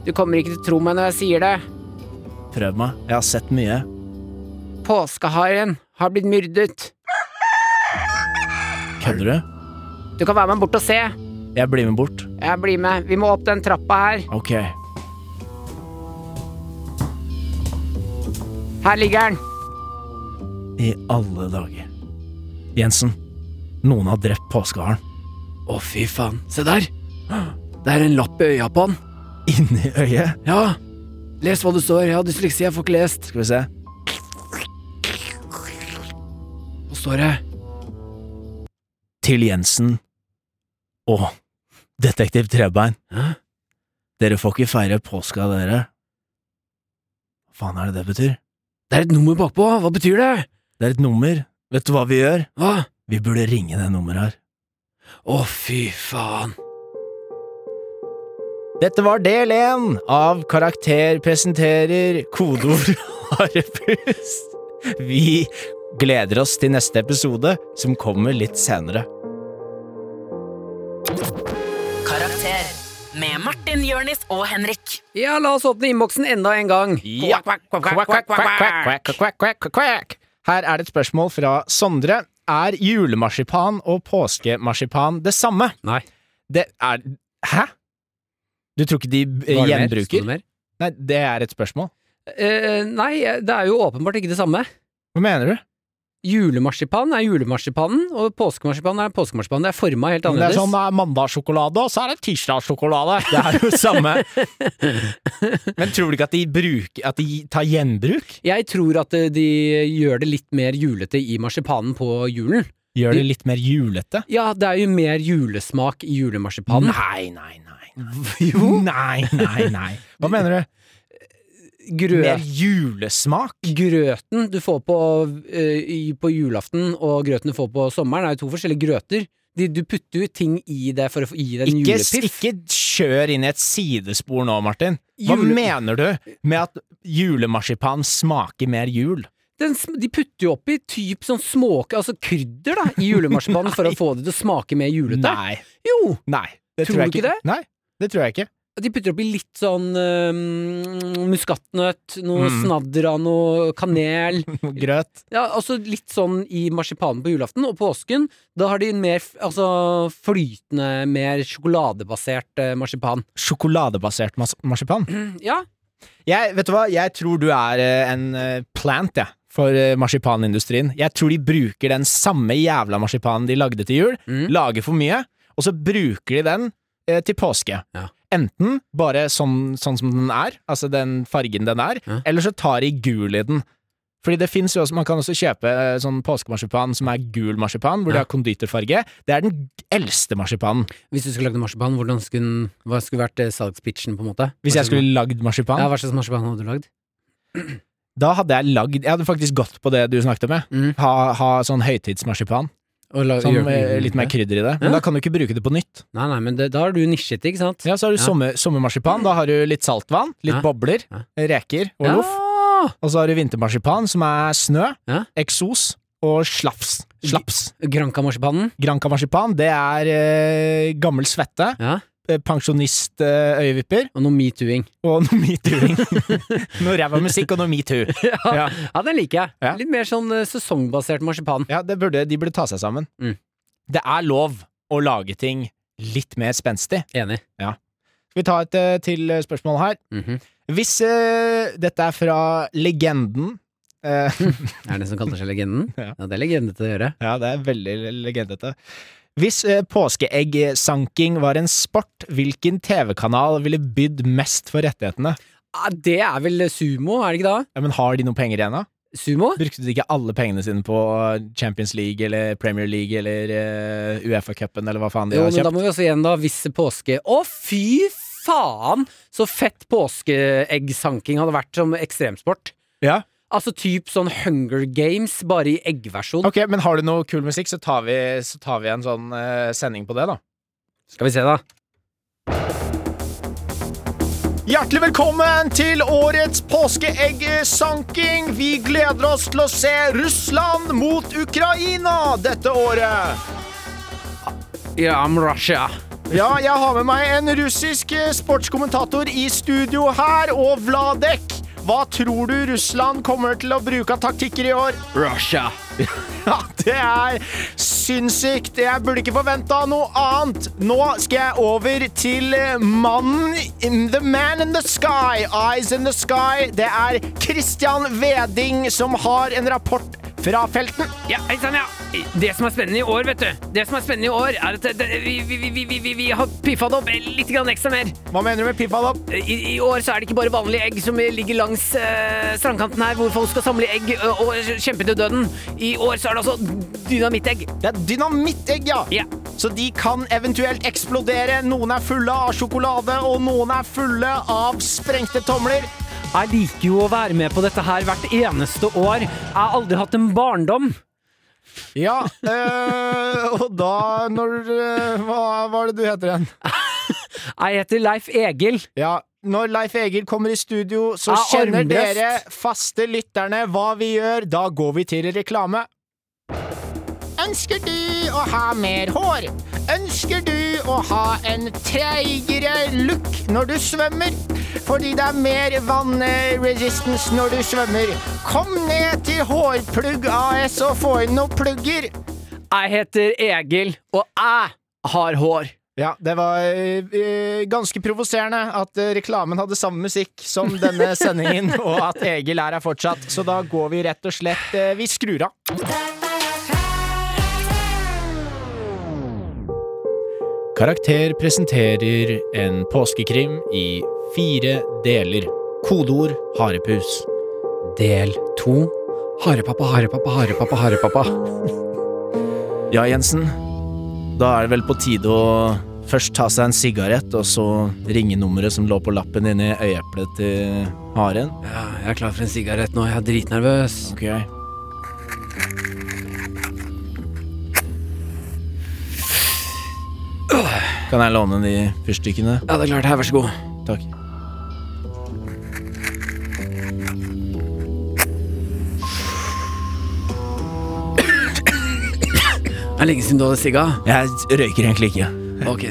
B: Du kommer ikke til å tro meg når jeg sier det.
C: Prøv meg. Jeg har sett mye.
B: Påskeharen har blitt myrdet.
C: Kødder du?
B: Du kan være med bort og se.
C: Jeg blir med bort.
B: Jeg blir med. Vi må opp den trappa her.
C: Ok.
B: Her ligger den.
C: I alle dager. Jensen, noen har drept påskeharen.
B: Å, fy faen. Se der. Det er en lapp i øya på han.
C: Inni øyet.
B: Ja. Les hva det står. Jeg har dysleksi, jeg får ikke lest.
C: Skal vi se.
B: Hva står det?
C: til Jensen og detektiv Trebein.
B: Hæ?
C: Dere får ikke feire påska, dere. Hva faen er det det betyr?
B: Det er et nummer bakpå. Hva betyr det?
C: Det er et nummer. Vet du hva vi gjør?
B: Hva?
C: Vi burde ringe det nummeret her.
B: Å, fy faen.
C: Dette var del én av Karakter presenterer kodeord harepus. Vi gleder oss til neste episode, som kommer litt senere.
E: Karakter med Martin, Jørnis og Henrik.
B: Ja, la oss åpne innboksen enda en gang.
C: Ja.
B: Kvakk, kvakk, kvakk,
C: Quack, quack, quack, quack, quack, quack, quack, quack, quack. Her er det et spørsmål fra Sondre. Er julemarsipan og påskemarsipan det samme?
B: Nei.
C: Det er Hæ? Du tror ikke de eh, gjenbruker? Nei, det er et spørsmål.
B: Eh, nei, det er jo åpenbart ikke det samme.
C: Hva mener du?
B: Julemarsipan er julemarsipanen, og påskemarsipan er påskemarsipan. Det er forma helt
C: Det er
B: annerledes.
C: sånn det er mandagssjokolade, og så er det tirsdagssjokolade. Det er jo samme. Men tror du ikke at de, bruker, at de tar gjenbruk?
B: Jeg tror at eh, de gjør det litt mer julete i marsipanen på julen.
C: Gjør det litt mer julete?
B: Ja, det er jo mer julesmak i julemarsipanen.
C: Nei, nei, nei. Jo. Nei, nei, nei. Hva mener du?
B: Grø
C: Mer julesmak?
B: grøten du får på, eh, i, på julaften og grøten du får på sommeren, er jo to forskjellige grøter. De, du putter jo ting i det for å få- gi deg en
C: Ikke,
B: julepiff.
C: ikke kjør inn i et sidespor nå, Martin. Hva
B: Jule-
C: mener du med at julemarsipan smaker mer jul?
B: den, sm- de putter jo oppi typ sånn småke, altså krydder, da, i julemarsipanen for å få det til å smake mer julete.
C: Nei.
B: Jo!
C: Nei. Det
B: Tror
C: jeg
B: du ikke det?
C: Nei, det tror jeg ikke.
B: De putter oppi litt sånn øhm, muskatnøtt, noe
C: Mm.
B: snadder av noe kanel.
C: Grøt.
B: Ja, altså litt sånn i marsipanen på julaften og påsken. Da har de en mer f- altså, flytende, mer sjokoladebasert eh, marsipan.
C: Sjokoladebasert mas marsipan.
B: Ja,
C: Jeg, vet du hva? jeg tror du er eh, en eh, plant jeg, for eh, marsipanindustrien. Jeg tror de bruker den samme jævla marsipanen de lagde til jul,
B: Mm.
C: lager for mye, og så bruker de den eh, til påske.
B: Ja.
C: Enten bare sånn, sånn som den er, altså den fargen den er,
B: Ja.
C: eller så tar de gul i den. Fordi det finnes jo også, Man kan også kjøpe eh, sånn påskemarsipan som er gul marsipan, hvor
B: Ja.
C: det har konditorfarge. Det er den g- eldste marsipanen.
B: Hvis du skulle lagd en marsipan, hvordan skulle, den- hva skulle vært eh, salgspitchen, på en måte?
C: Hvis
B: Hva
C: jeg skulle lagd marsipan,
B: Ja, hva slags marsipan hadde du lagd?
C: da hadde jeg lagd Jeg hadde faktisk gått på det du snakket om, jeg.
B: Mm.
C: Ha, ha sånn høytidsmarsipan.
B: Og lag-
C: Sånn
B: gjør-
C: med litt mer krydder i det. Men
B: Ja.
C: da kan du ikke bruke det på nytt.
B: Nei, nei, men det, da har du nisjet, ikke sant?
C: Ja, Så har du
B: Ja.
C: sommer, sommermarsipan. Da har du litt saltvann, litt
B: Ja.
C: bobler,
B: Ja.
C: reker og loff. Og så har du vintermarsipan, som er snø,
B: Ja.
C: eksos og slaps. Slaps.
B: Granca-marsipanen.
C: Granca-marsipan, det er eh, gammel svette,
B: Ja.
C: eh, pensjonist-øyevipper
B: Og noe metooing.
C: og noe metooing. noe ræva musikk og noe metoo. Ja.
B: Ja, den liker jeg.
C: Ja.
B: Litt mer sånn eh, sesongbasert marsipan.
C: Ja, det burde, de burde ta seg sammen.
B: Mm.
C: Det er lov å lage ting litt mer spenstig.
B: Enig.
C: Skal vi ta et eh, til eh, spørsmål her?
B: Mhm.
C: Hvis eh, dette er fra legenden eh,
B: Er det den som kaller seg legenden?
C: Ja.
B: ja. det er legende til å gjøre.
C: Ja, det er veldig legendete. Hvis eh, påskeeggsanking var en sport, hvilken TV-kanal ville bydd mest for rettighetene?
B: Ah, det er vel sumo, er det ikke da?
C: Ja, men Har de noen penger igjen, da?
B: Sumo?
C: Brukte de ikke alle pengene sine på eh, Champions League eller Premier League eller eh, Uefa-cupen eller hva faen de
B: Jo,
C: har
B: men da
C: kjøpt?
B: må vi også igjen da visse påske... Å, fy faen! Så fett påskeeggsanking hadde vært som ekstremsport.
C: Ja.
B: Altså typ sånn Hunger Games, bare i eggversjon.
C: Ok, men har du noe kul musikk, så tar vi, så tar vi en sånn eh, sending på det, da.
B: Skal vi se, da.
C: Hjertelig velkommen til årets påskeeggsanking. Vi gleder oss til å se Russland mot Ukraina dette året.
B: Yeah, I'm Russia.
C: Ja, jeg har med meg en russisk eh, sportskommentator i studio her, og Vladek. Hva tror du Russland kommer til å bruke av taktikker i år?
B: Russia.
C: Ja, det er sinnssykt. Jeg burde ikke forventa noe annet. Nå skal jeg over til eh, mannen in The man in the sky. Eyes in the sky. Det er Christian Veding som har en rapport fra felten.
B: Ja, hei sann, ja. Det som er spennende i år, vet du, Det som er spennende i år, er at det, vi, vi, vi, vi, vi, vi har piffa det opp litt grann ekstra mer.
C: Hva mener du med pippa da?
B: I, I år så er det ikke bare vanlige egg som ligger langs eh, strandkanten her, hvor folk skal samle egg ø, og kjempe til døden. I år så er det altså dynamittegg.
C: Det er dynamittegg, ja.
B: Ja.
C: Så de kan eventuelt eksplodere. Noen er fulle av sjokolade, og noen er fulle av sprengte tomler.
B: Jeg liker jo å være med på dette her hvert eneste år. Jeg har aldri hatt en barndom.
C: Ja, øh, og da når øh, Hva var det du heter igjen?
B: Jeg heter Leif Egil.
C: Ja, når Leif Egil kommer i studio, så
B: Ah,
C: kjenner
B: armbrøst.
C: dere faste lytterne hva vi gjør. Da går vi til reklame. Ønsker du å ha mer hår? Ønsker du å ha en treigere look når du svømmer? Fordi det er mer vannresistance når du svømmer. Kom ned til Hårplugg AS og få inn noen plugger.
B: Jeg heter Egil, og jeg har hår.
C: Ja, det var eh, ganske provoserende at eh, reklamen hadde samme musikk som denne sendingen, og at Egil er her fortsatt. Så da går vi rett og slett eh, Vi skrur av. Karakter presenterer en påskekrim i fire deler. Kodeord harepus.
B: Del to. Harepappa, harepappa, harepappa, harepappa.
C: Ja, Jensen. Da er det vel på tide å først ta seg en sigarett, og så ringe nummeret som lå på lappen inni øyeeplet til haren.
B: Ja, jeg er klar for en sigarett nå. Jeg er dritnervøs.
C: Ok. Kan jeg låne de fyrstikkene?
B: Ja, det er klart. Her, vær så god.
C: Takk.
B: Det er lenge siden du hadde sigga.
C: Jeg røyker egentlig ikke.
B: Ok.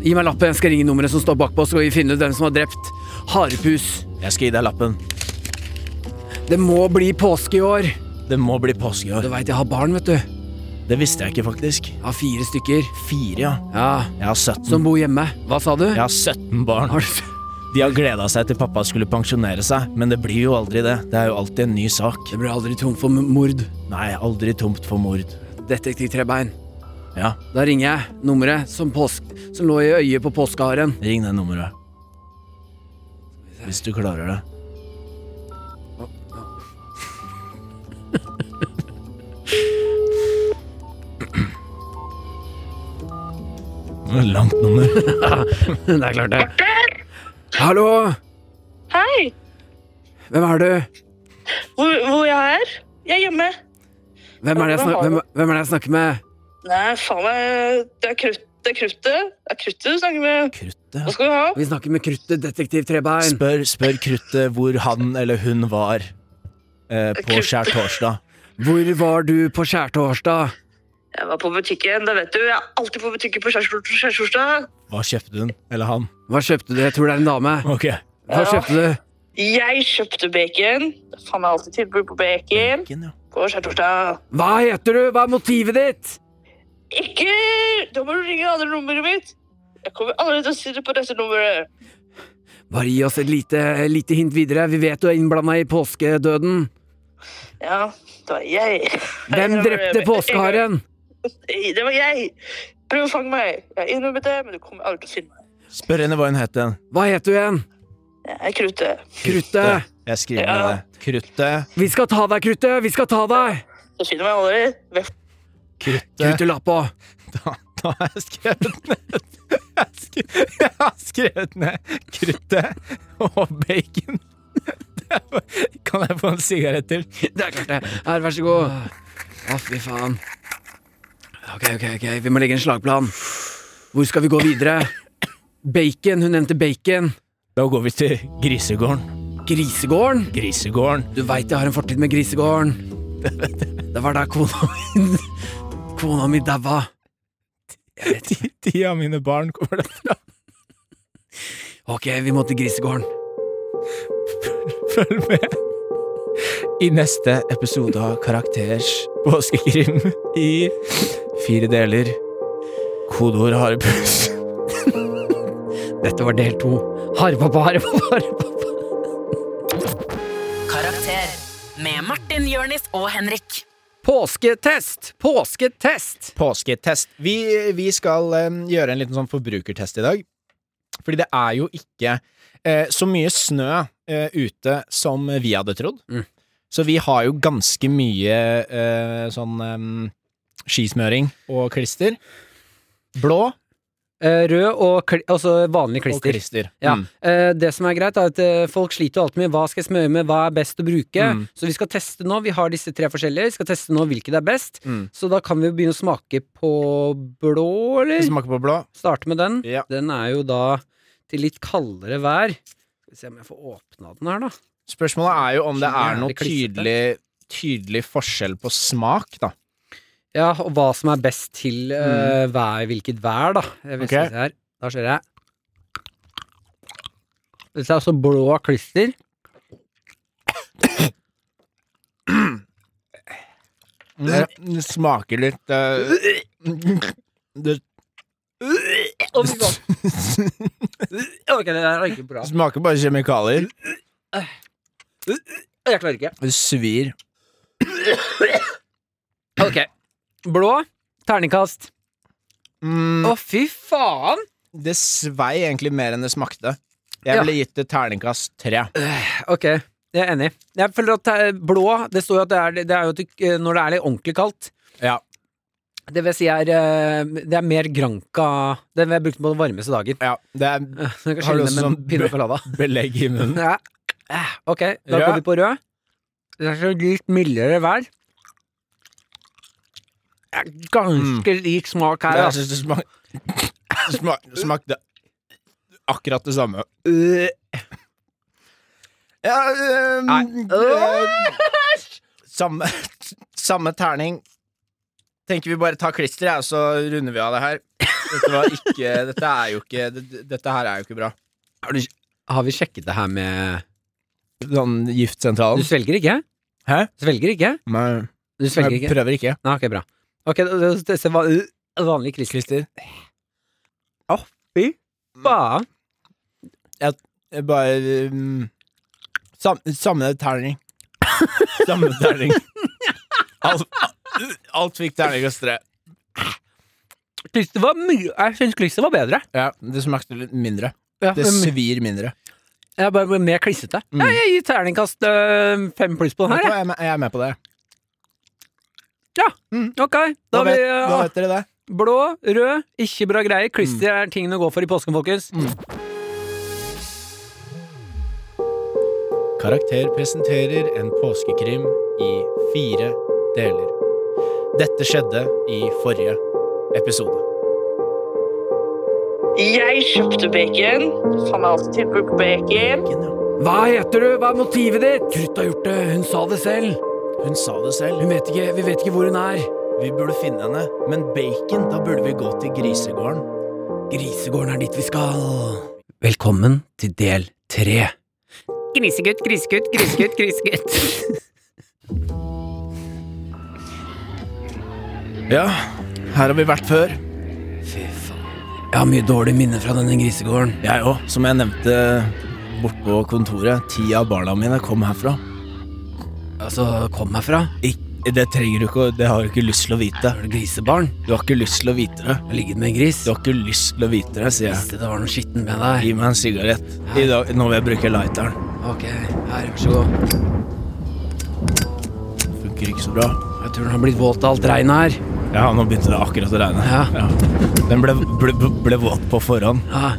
B: Gi meg lappen, jeg skal ringe nummeret som står bakpå, så skal vi finne ut hvem som har drept Harepus.
C: Jeg skal gi deg lappen.
B: Det må bli påske i år.
C: Det må bli påske i
B: Du
C: år.
B: veit jeg har barn, vet du. Jeg
C: Det visste jeg ikke, faktisk.
B: har fire stykker.
C: Fire, ja.
B: Ja,
C: Jeg har 17.
B: Som bor hjemme. Hva sa du?
C: Jeg har 17 barn.
B: Har du
C: De har gleda seg til pappa skulle pensjonere seg, men det blir jo aldri det. Det er jo alltid en ny sak.
B: Det blir aldri tom for m- mord.
C: Nei, aldri tomt for mord.
B: Detektiv Trebein.
C: Ja,
B: Da ringer jeg nummeret som, påsk som lå i øyet på påskeharen.
C: ring det nummeret. Hvis du klarer det. Det var et Langt nummer.
B: det er klart, det. Hallo!
F: Hei,
B: Hvem er du?
F: hvor, hvor jeg er? Jeg er hjemme.
B: Hvem er det jeg, snak
F: Hvem har
B: hvem,
F: du?
B: hvem er det jeg snakker med?
F: Nei, faen meg, det er krutt, det er kruttet. Det er kruttet du snakker med. Hva
C: Kruttet.
F: skal du ha?
B: Vi snakker med kruttet, detektiv Trebein.
C: altså. Spør, spør kruttet hvor han eller hun var eh, på
F: Kruttet.
C: skjærtorsdag.
B: Hvor var du på skjærtorsdag?
F: Jeg var på butikken, det vet du. Jeg er alltid på butikken på skjærtorsdag.
C: Hva kjøpte hun? Eller han?
B: Hva kjøpte du? Jeg tror det er en dame.
C: Ok.
B: Hva kjøpte du?
F: Jeg kjøpte bacon. Det er Faen meg alltid tilbud på bacon
C: Bacon, ja.
F: på skjærtorsdag.
B: Hva heter du? Hva er motivet ditt?
F: Ikke! Da må du ringe det andre nummeret mitt. Jeg kommer aldri til å si det på dette nummeret.
B: Bare gi oss et lite, lite hint videre. Vi vet du er innblanda i påskedøden.
F: Ja, det var jeg.
B: Hvem
F: Jeg
B: drepte
F: innrømmer-
B: påskeharen?
F: Det var jeg. Prøv å fange meg. Jeg har innrømmet det, men du kommer aldri til å finne meg.
C: Spør henne hva hun het igjen.
B: Hva heter du igjen?
F: Jeg er kruttet.
B: Kruttet.
C: Jeg skriver
F: Ja.
C: ned det. Kruttet.
B: Vi skal ta deg, Kruttet! Vi skal ta deg!
F: Så finner meg aldri. Hvem
B: Kruttet la på.
C: Da, da har jeg skrevet ned Jeg har skrevet- Jeg har skrevet ned kruttet og bacon. Det er- Kan jeg få en sigarett til?
B: Det er klart det. Her, vær så god. Å, fy faen. Ok, ok, ok. Vi må legge en slagplan. Hvor skal vi gå videre? Bacon. Hun nevnte bacon.
C: Da går vi til grisegården.
B: Grisegården.
C: Grisegården.
B: Du veit jeg har en fortid med grisegården. Det var da kona min Kona mi daua.
C: Ti, ti av mine barn kommer derfra.
B: Ok, vi må til grisegården.
C: Følg med i neste episode av Karakters påskekrim i fire deler. Kodeord harepus.
B: Dette var del to. Harepappa, harepappa, harepappa.
E: Karakter med Martin, Jørnis og Henrik.
B: Påsketest! Påsketest!
C: Påsketest. Vi, vi skal eh, gjøre en liten sånn forbrukertest i dag. Fordi det er jo ikke eh, så mye snø eh, ute som vi hadde trodd.
B: Mm.
C: Så vi har jo ganske mye eh, sånn eh, skismøring og klister. Blå
B: Eh, Rød og kli, altså vanlig
C: og
B: klister.
C: klister.
B: Ja.
C: Mm.
B: Eh, Det som er greit, er at eh, folk sliter jo alltid med hva skal jeg smøre med, hva er best å bruke.
C: Mm.
B: Så vi skal teste nå, vi har disse tre forskjellige, vi skal teste nå hvilket er best.
C: Mm.
B: Så da kan vi jo begynne å smake på blå,
C: Vi
B: eller?
C: smaker på blå.
B: Starte med den.
C: Ja.
B: Den er jo da til litt kaldere vær. Skal vi se om jeg får åpna den her, da.
C: Spørsmålet er jo om det er
B: Jævlig
C: noe
B: klissete.
C: tydelig, tydelig forskjell på smak, da.
B: Ja, og hva som er best til eh, vær, hvilket vær, da. Jeg vil
C: Mm. Ok.
B: se her. Da ser jeg. Dette er altså blå klister. Mm.
C: Det, det Eh, smaker litt eh, Det
B: Å, fy faen. Ok, det der er ikke bra.
C: Det smaker bare kjemikalier.
B: Jeg klarer ikke.
C: Det svir.
B: Ok. Blå. Terningkast.
C: Mm,
B: Å, fy faen!
C: det svei egentlig mer enn det smakte. Jeg
B: Ja.
C: ville gitt det terningkast tre.
B: Ok, jeg er enig. Jeg føler at eh, blå Det står jo at det er, det er jo til, eh, når det er litt ordentlig kaldt.
C: Ja.
B: Det vil si er eh, Det er mer granka Den vil jeg bruke på den varmeste dagen. Eh,
C: ja det er
B: Har
C: Har du
B: du
C: også
B: med en
C: sånn Mm.
B: pina
C: brød?
B: colada?
C: belegg i munnen.
B: Ja. Eh, Ok, da
C: Rød.
B: går vi på rød. Det er så litt mildere vær. Det er Ganske lik smak her. Altså.
C: Jeg syns Mm. det smak, smak, smakte akkurat det samme.
B: Øh,
C: Ja, ehm,
B: Nei.
C: det- samme, samme terning. tenker vi bare tar klisteret, og så runder vi av det her. Dette, var ikke, dette, er jo ikke, det- dette her er jo ikke bra.
B: Har, du, har vi sjekket det her med
C: Sånn
B: Du
C: giftsentralen?
B: svelger ikke?
C: Hæ?
B: Svelger ikke?
C: Nei,
B: Du svelger
C: jeg
B: ikke?
C: prøver ikke.
B: Nei, ok, bra. Ok, det, det, det, det var øh, vanlig krister.
C: Klister.
B: Å, fy
C: Mm.
B: faen.
C: Jeg Bare um, sam, Samme terning. Samme terning. Alt, alt fikk terningkast tre.
B: Klister var mye Jeg syns klister var bedre.
C: Ja, det smakte litt mindre.
B: Ja,
C: Det
B: men-
C: svir mindre.
B: jeg bare ble mer klissete.
C: Mm.
B: Ja, jeg gir terningkast øh, fem pluss på den
C: Vet
B: her, jeg.
C: du hva, Jeg er med- jeg er med på det.
B: Ok, da
C: Mm. Da
B: har vi
C: vet, da
B: øh,
C: vet Mm. dere det.
B: blå, rød, ikke bra greier. Klister er tingen å gå for i påsken, folkens.
C: Mm. Karakter presenterer en påskekrim i fire deler. Dette skjedde i forrige episode.
F: Jeg kjøpte bacon. Faen meg alltid brukt bacon.
B: Hva heter du? Hva er motivet ditt? Krutt har gjort det. Hun sa det selv.
C: Hun sa det selv.
B: vet ikke, vi vet ikke hvor hun er.
C: Vi burde finne henne. Men bacon, da burde vi gå til grisegården.
B: Grisegården er dit vi skal. Velkommen til del tre. Grisegutt, grisegutt, grisegutt, grisegutt.
C: Ja, her har vi vært før.
B: Fy faen. Jeg har mye dårlige minner fra denne grisegården.
C: Jeg òg. Som jeg nevnte bortpå kontoret, ti av barna mine kom herfra.
B: Altså, kom herfra.
C: Ik det trenger du ikke, å- det har du ikke lyst til å vite.
B: Er du grisebarn?
C: Du har ikke lyst til å vite det.
B: Jeg har ligget med en gris.
C: Du har ikke lyst til å vite det, sier jeg.
B: Visste det var noe skitten med deg.
C: Gi meg en sigarett. I dag, nå vil jeg bruke lighteren.
B: Ok, her, vær så god.
C: Funker ikke så bra.
B: Jeg tror den har blitt våt av alt regnet her.
C: Ja, nå begynte det akkurat å regne.
B: Ja.
C: Den ble, ble, ble våt på forhånd.
B: Ja.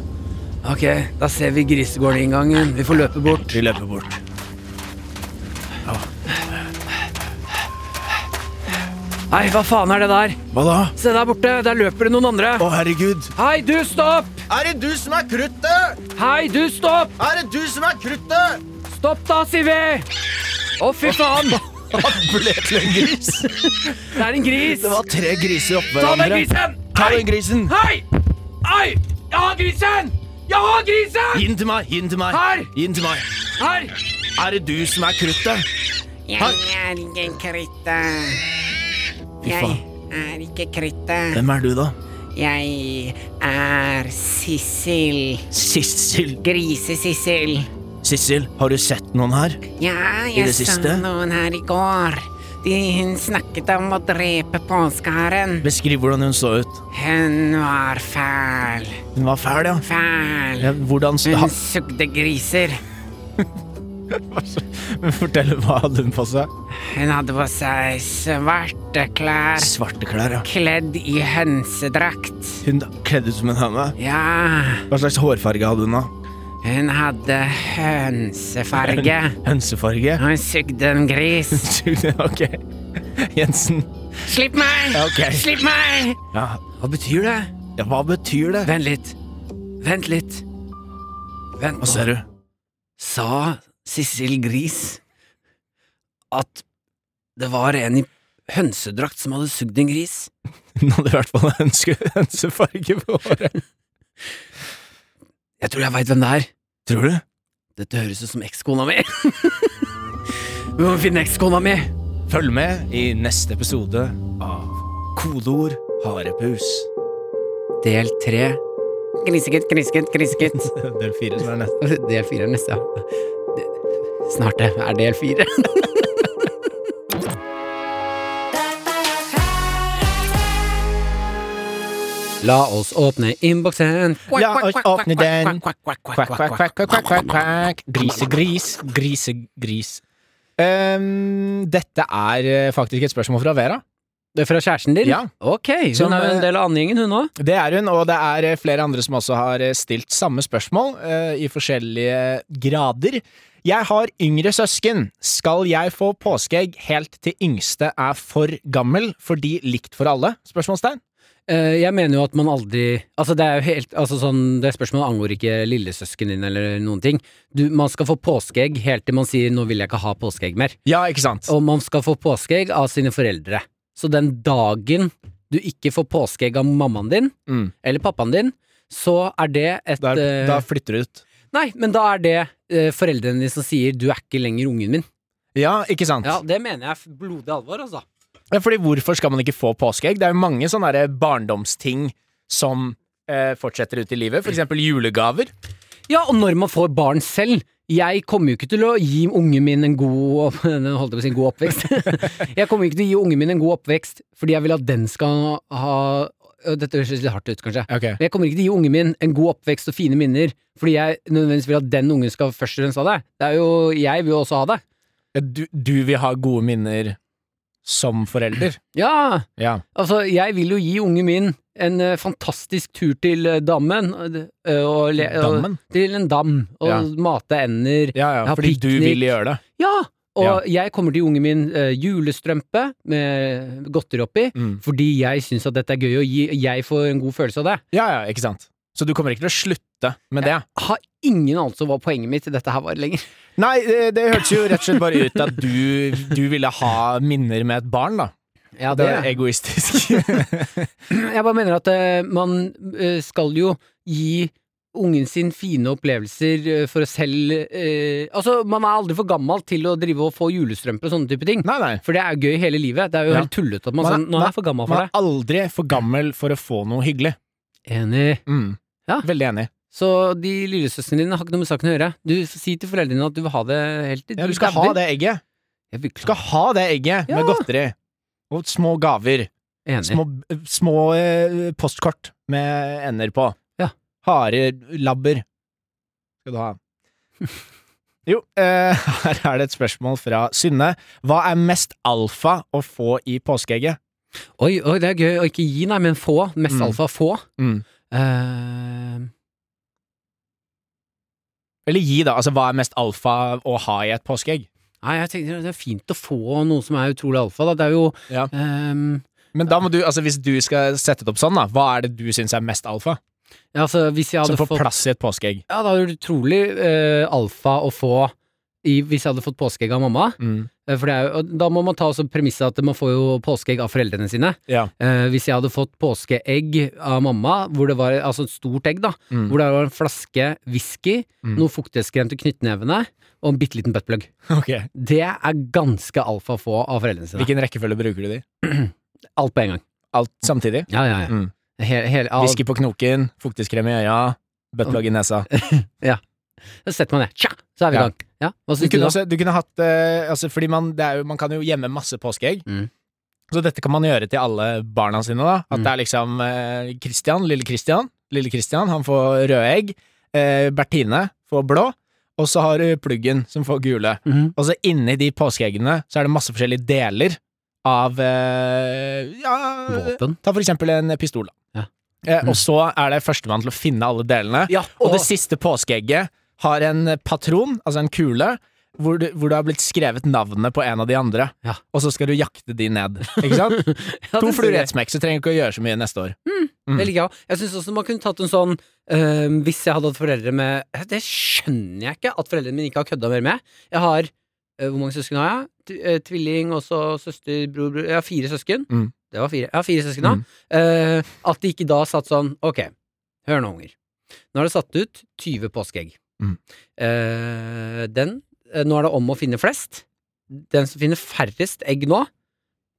B: Ok, da ser vi grisegården-inngangen. Vi får løpe bort.
C: Vi løper bort.
B: Hei, hva faen er det der?
C: Hva da?
B: Se der borte, der løper det noen andre.
C: Å, herregud.
B: Hei, du, stopp!
C: Er det du som er kruttet?
B: Hei, du, stopp!
C: Er det du som er kruttet?
B: Stopp da, sier vi! Å, fy faen!
C: Han ble til en gris.
B: Det er en gris!
C: Det var tre griser oppå
B: Ta den
C: hverandre.
B: grisen!
C: Ta den grisen.
B: Hei! Hei! Jeg har grisen! Jeg har grisen!
C: Gi den til meg. Gi den til meg.
B: Her!
C: Gi den til meg.
B: Her!
C: Er det du som er kruttet?
G: Jeg er ikke kritta.
C: Fy
G: Jeg
C: faen.
G: er ikke kritta.
C: Hvem er du, da?
G: Jeg er Sissel.
C: Sissel.
G: Grise-Sissel.
C: Sissel, har du sett noen her?
G: Ja,
C: I
G: jeg
C: det
G: så
C: siste?
G: noen her i går. De, hun snakket om å drepe påskeharen.
C: Beskriv hvordan hun så ut.
G: Hun var fæl.
C: Hun var fæl, ja.
G: Fæl.
C: ja hvordan s-
G: Hun
C: ha-
G: sugde griser.
C: Fortell, hva hadde hun på seg?
G: Hun hadde på seg svarte klær,
C: Svarte klær, ja.
G: kledd i hønsedrakt.
C: Hun kledde ut som en høne.
G: Ja.
C: Hva slags hårfarge hadde hun da?
G: Hun hadde hønsefarge.
C: Hønsefarge?
G: Hun sugde en gris.
C: ok. Jensen.
G: Slipp meg!
C: Ja, ok.
G: Slipp meg!
C: Ja.
B: Hva betyr det?
C: ja, hva betyr det?
B: Vent litt. Vent litt. Vent
C: Hva ser du?
B: Sa Sissel Gris at det var en i hønsedrakt som hadde sugd en gris?
C: Hun hadde i hvert fall hønse, hønsefarge på håret.
B: Jeg tror jeg veit hvem det er.
C: Tror du?
B: Dette høres ut som ekskona mi. Vi må finne ekskona mi.
C: Følg med i neste episode av Kodeord harepus.
B: Del tre.
G: Grisegutt, grisegutt, grisegutt.
C: Del fire som er neste.
B: Del fire er neste, ja. Snart det er del fire. La oss åpne innboksen.
C: La oss åpne den. Kvakk, kvakk, kvakk, kvakk, kvakk, kvakk. Grisegris, grisegris. Um, dette er eh, faktisk et spørsmål fra Vera.
B: Det er fra kjæresten din?
C: Ja.
B: Ok, hun
C: Som,
B: er jo en
C: eh,
B: del av andegjengen, hun òg.
C: Det er hun, og det er eh, flere andre som også har eh, stilt samme spørsmål eh, i forskjellige grader. Jeg har yngre søsken. Skal jeg få påskeegg helt til yngste er for gammel fordi likt for alle? Spørsmålstegn.
B: Eh, jeg mener jo at man aldri Altså, det er jo helt altså sånn, Det spørsmålet angår ikke lillesøsken din eller noen ting. Du, man skal få påskeegg helt til man sier 'nå vil jeg ikke ha påskeegg mer'.
C: Ja, ikke sant?
B: Og man skal få påskeegg av sine foreldre. Så den dagen du ikke får påskeegg av mammaen din,
C: Mm.
B: eller pappaen din, så er det et
C: Da, er,
B: eh,
C: da flytter du ut.
B: Nei, men da er det eh, foreldrene dine som sier 'du er ikke lenger ungen min'.
C: Ja, ikke sant?
B: Ja, Det mener jeg er f- blodig alvor, altså.
C: Ja, Fordi hvorfor skal man ikke få påskeegg? Det er jo mange sånne der barndomsting som eh, fortsetter ut i livet. For eksempel julegaver.
B: Ja, og når man får barn selv. Jeg kommer jo ikke til å gi ungen min en god, opp- nå holdt jeg på å si en god oppvekst. jeg kommer jo ikke til å gi ungen min en god oppvekst fordi jeg vil at den skal ha øh, Dette høres litt hardt ut, kanskje.
C: Ok.
B: Men jeg kommer ikke til å gi ungen min en god oppvekst og fine minner fordi jeg nødvendigvis vil at den ungen skal først og fremst ha det. Det er jo, Jeg vil jo også ha det.
C: Ja, Du, du vil ha gode minner som forelder.
B: Ja,
C: Ja.
B: altså, jeg vil jo gi ungen min en eh, fantastisk tur til eh, dammen. eh, og, le- og,
C: Dammen?
B: Til en dam, og
C: Ja.
B: mate ender.
C: Ja, ja,
B: Ja,
C: fordi du
B: piknik.
C: vil gjøre det.
B: Ja! Og jeg kommer til ungen min eh, julestrømpe med godteri oppi,
C: Mm.
B: fordi jeg syns at dette er gøy, og gi, jeg får en god følelse av det.
C: Ja, ja, ikke sant. Så du kommer ikke til å slutte med det?
B: Har ingen anelse om hva poenget mitt i dette her var lenger.
C: Nei, det, det hørtes jo rett og slett bare ut at du, du ville ha minner med et barn, da.
B: Ja,
C: Det er egoistisk.
B: Jeg bare mener at eh, man eh, skal jo gi ungen sin fine opplevelser eh, for å selv eh, Altså, man er aldri for gammel til å drive og få julestrømper og sånne type ting.
C: nei, nei.
B: For det er jo gøy hele livet. Det er jo
C: Ja.
B: helt tullete at man,
C: Man er-
B: sånn Nå er jeg for gammel
C: Man
B: for
C: er
B: det.
C: aldri for gammel for å få noe hyggelig.
B: Enig.
C: Mm.
B: Ja.
C: Veldig enig.
B: Så de lillesøstrene dine har ikke noe med saken å gjøre. Du Si til foreldrene dine at du vil ha det helt til
C: Ja, du skal ha det egget.
B: Jeg blir
C: Du skal ha det egget med
B: Ja.
C: godteri. Og små gaver.
B: enig.
C: Små, små eh, postkort med ender på.
B: Ja.
C: Harde labber skal du ha. Jo, eh, her er det et spørsmål fra Synne. Hva er mest alfa å få i påskeegget?
B: Oi, oi, det er gøy å ikke gi, nei, men få. Mest
C: Mm.
B: alfa få.
C: Mm.
B: Eh,
C: Eller gi, da. Altså, hva er mest alfa å ha i et påskeegg?
B: nei, jeg tenker det er fint å få noe som er utrolig alfa, da. Det er jo
C: Ja.
B: ehm,
C: Men da må du, altså, hvis du skal sette det opp sånn, da, hva er det du syns er mest alfa?
B: ja, altså, hvis jeg
C: Som
B: hadde
C: får
B: fått
C: plass i et påskeegg?
B: Ja, da er det utrolig eh, alfa å få i, hvis jeg hadde fått påskeegg av mamma.
C: Mm.
B: Eh, For det er jo, og da må man ta også premisset at man får jo påskeegg av foreldrene sine.
C: Ja.
B: Eh, hvis jeg hadde fått påskeegg av mamma, hvor det var, altså et stort egg, da,
C: Mm.
B: hvor det var en flaske whisky,
C: Mm.
B: noen fuktighetskrem til knyttnevene og en bitte liten buttplug.
C: Ok.
B: Det er ganske alfa få av foreldrene sine.
C: Hvilken rekkefølge bruker du de?
B: Alt på en gang.
C: Alt samtidig?
B: Ja, ja, ja.
C: Mm.
B: Hele, hele, all,
C: Whisky på knoken, fuktighetskrem i øya, buttplug i nesa.
B: Så setter man det, tja, så er vi i
C: Ja.
B: gang. Ja, hva
C: Du
B: syns du,
C: kunne,
B: da?
C: også, du kunne hatt eh, altså, Fordi man, det er jo, man kan jo gjemme masse påskeegg.
B: Mm.
C: Så dette kan man gjøre til alle barna sine. da At
B: Mm.
C: det er liksom eh, Christian, lille Christian, lille Christian han får røde egg. Eh, Bertine får blå. Og så har du pluggen, som får gule.
B: Mhm.
C: Og så inni de påskeeggene så er det masse forskjellige deler av eh, ja,
B: Våpen?
C: Ta for eksempel en pistol, da.
B: Ja. Mm.
C: Eh, og så er det førstemann til å finne alle delene.
B: Ja,
C: Og det siste påskeegget har en patron, altså en kule, hvor du, hvor det har blitt skrevet navnet på en av de andre.
B: Ja.
C: Og så skal du jakte de ned. Ikke sant? to fluer i ett smekk, så trenger du ikke å gjøre så mye neste år. Mm.
B: Det liker jeg òg. Jeg syns også man kunne tatt en sånn øhm, Hvis jeg hadde hatt foreldre med Det skjønner jeg ikke at foreldrene mine ikke har kødda mer med. Jeg har øh, Hvor mange søsken har jeg? T øh, tvilling, og så søster, bror, bror Jeg har fire søsken.
C: Mm.
B: Det var fire. Jeg har fire søsken, da.
C: Mm.
B: Eh, at de ikke da satt sånn Ok, hør nå, unger. Nå er det satt ut 20 påskeegg.
C: Mm.
B: Eh, den eh, Nå er det om å finne flest. Den som finner færrest egg nå,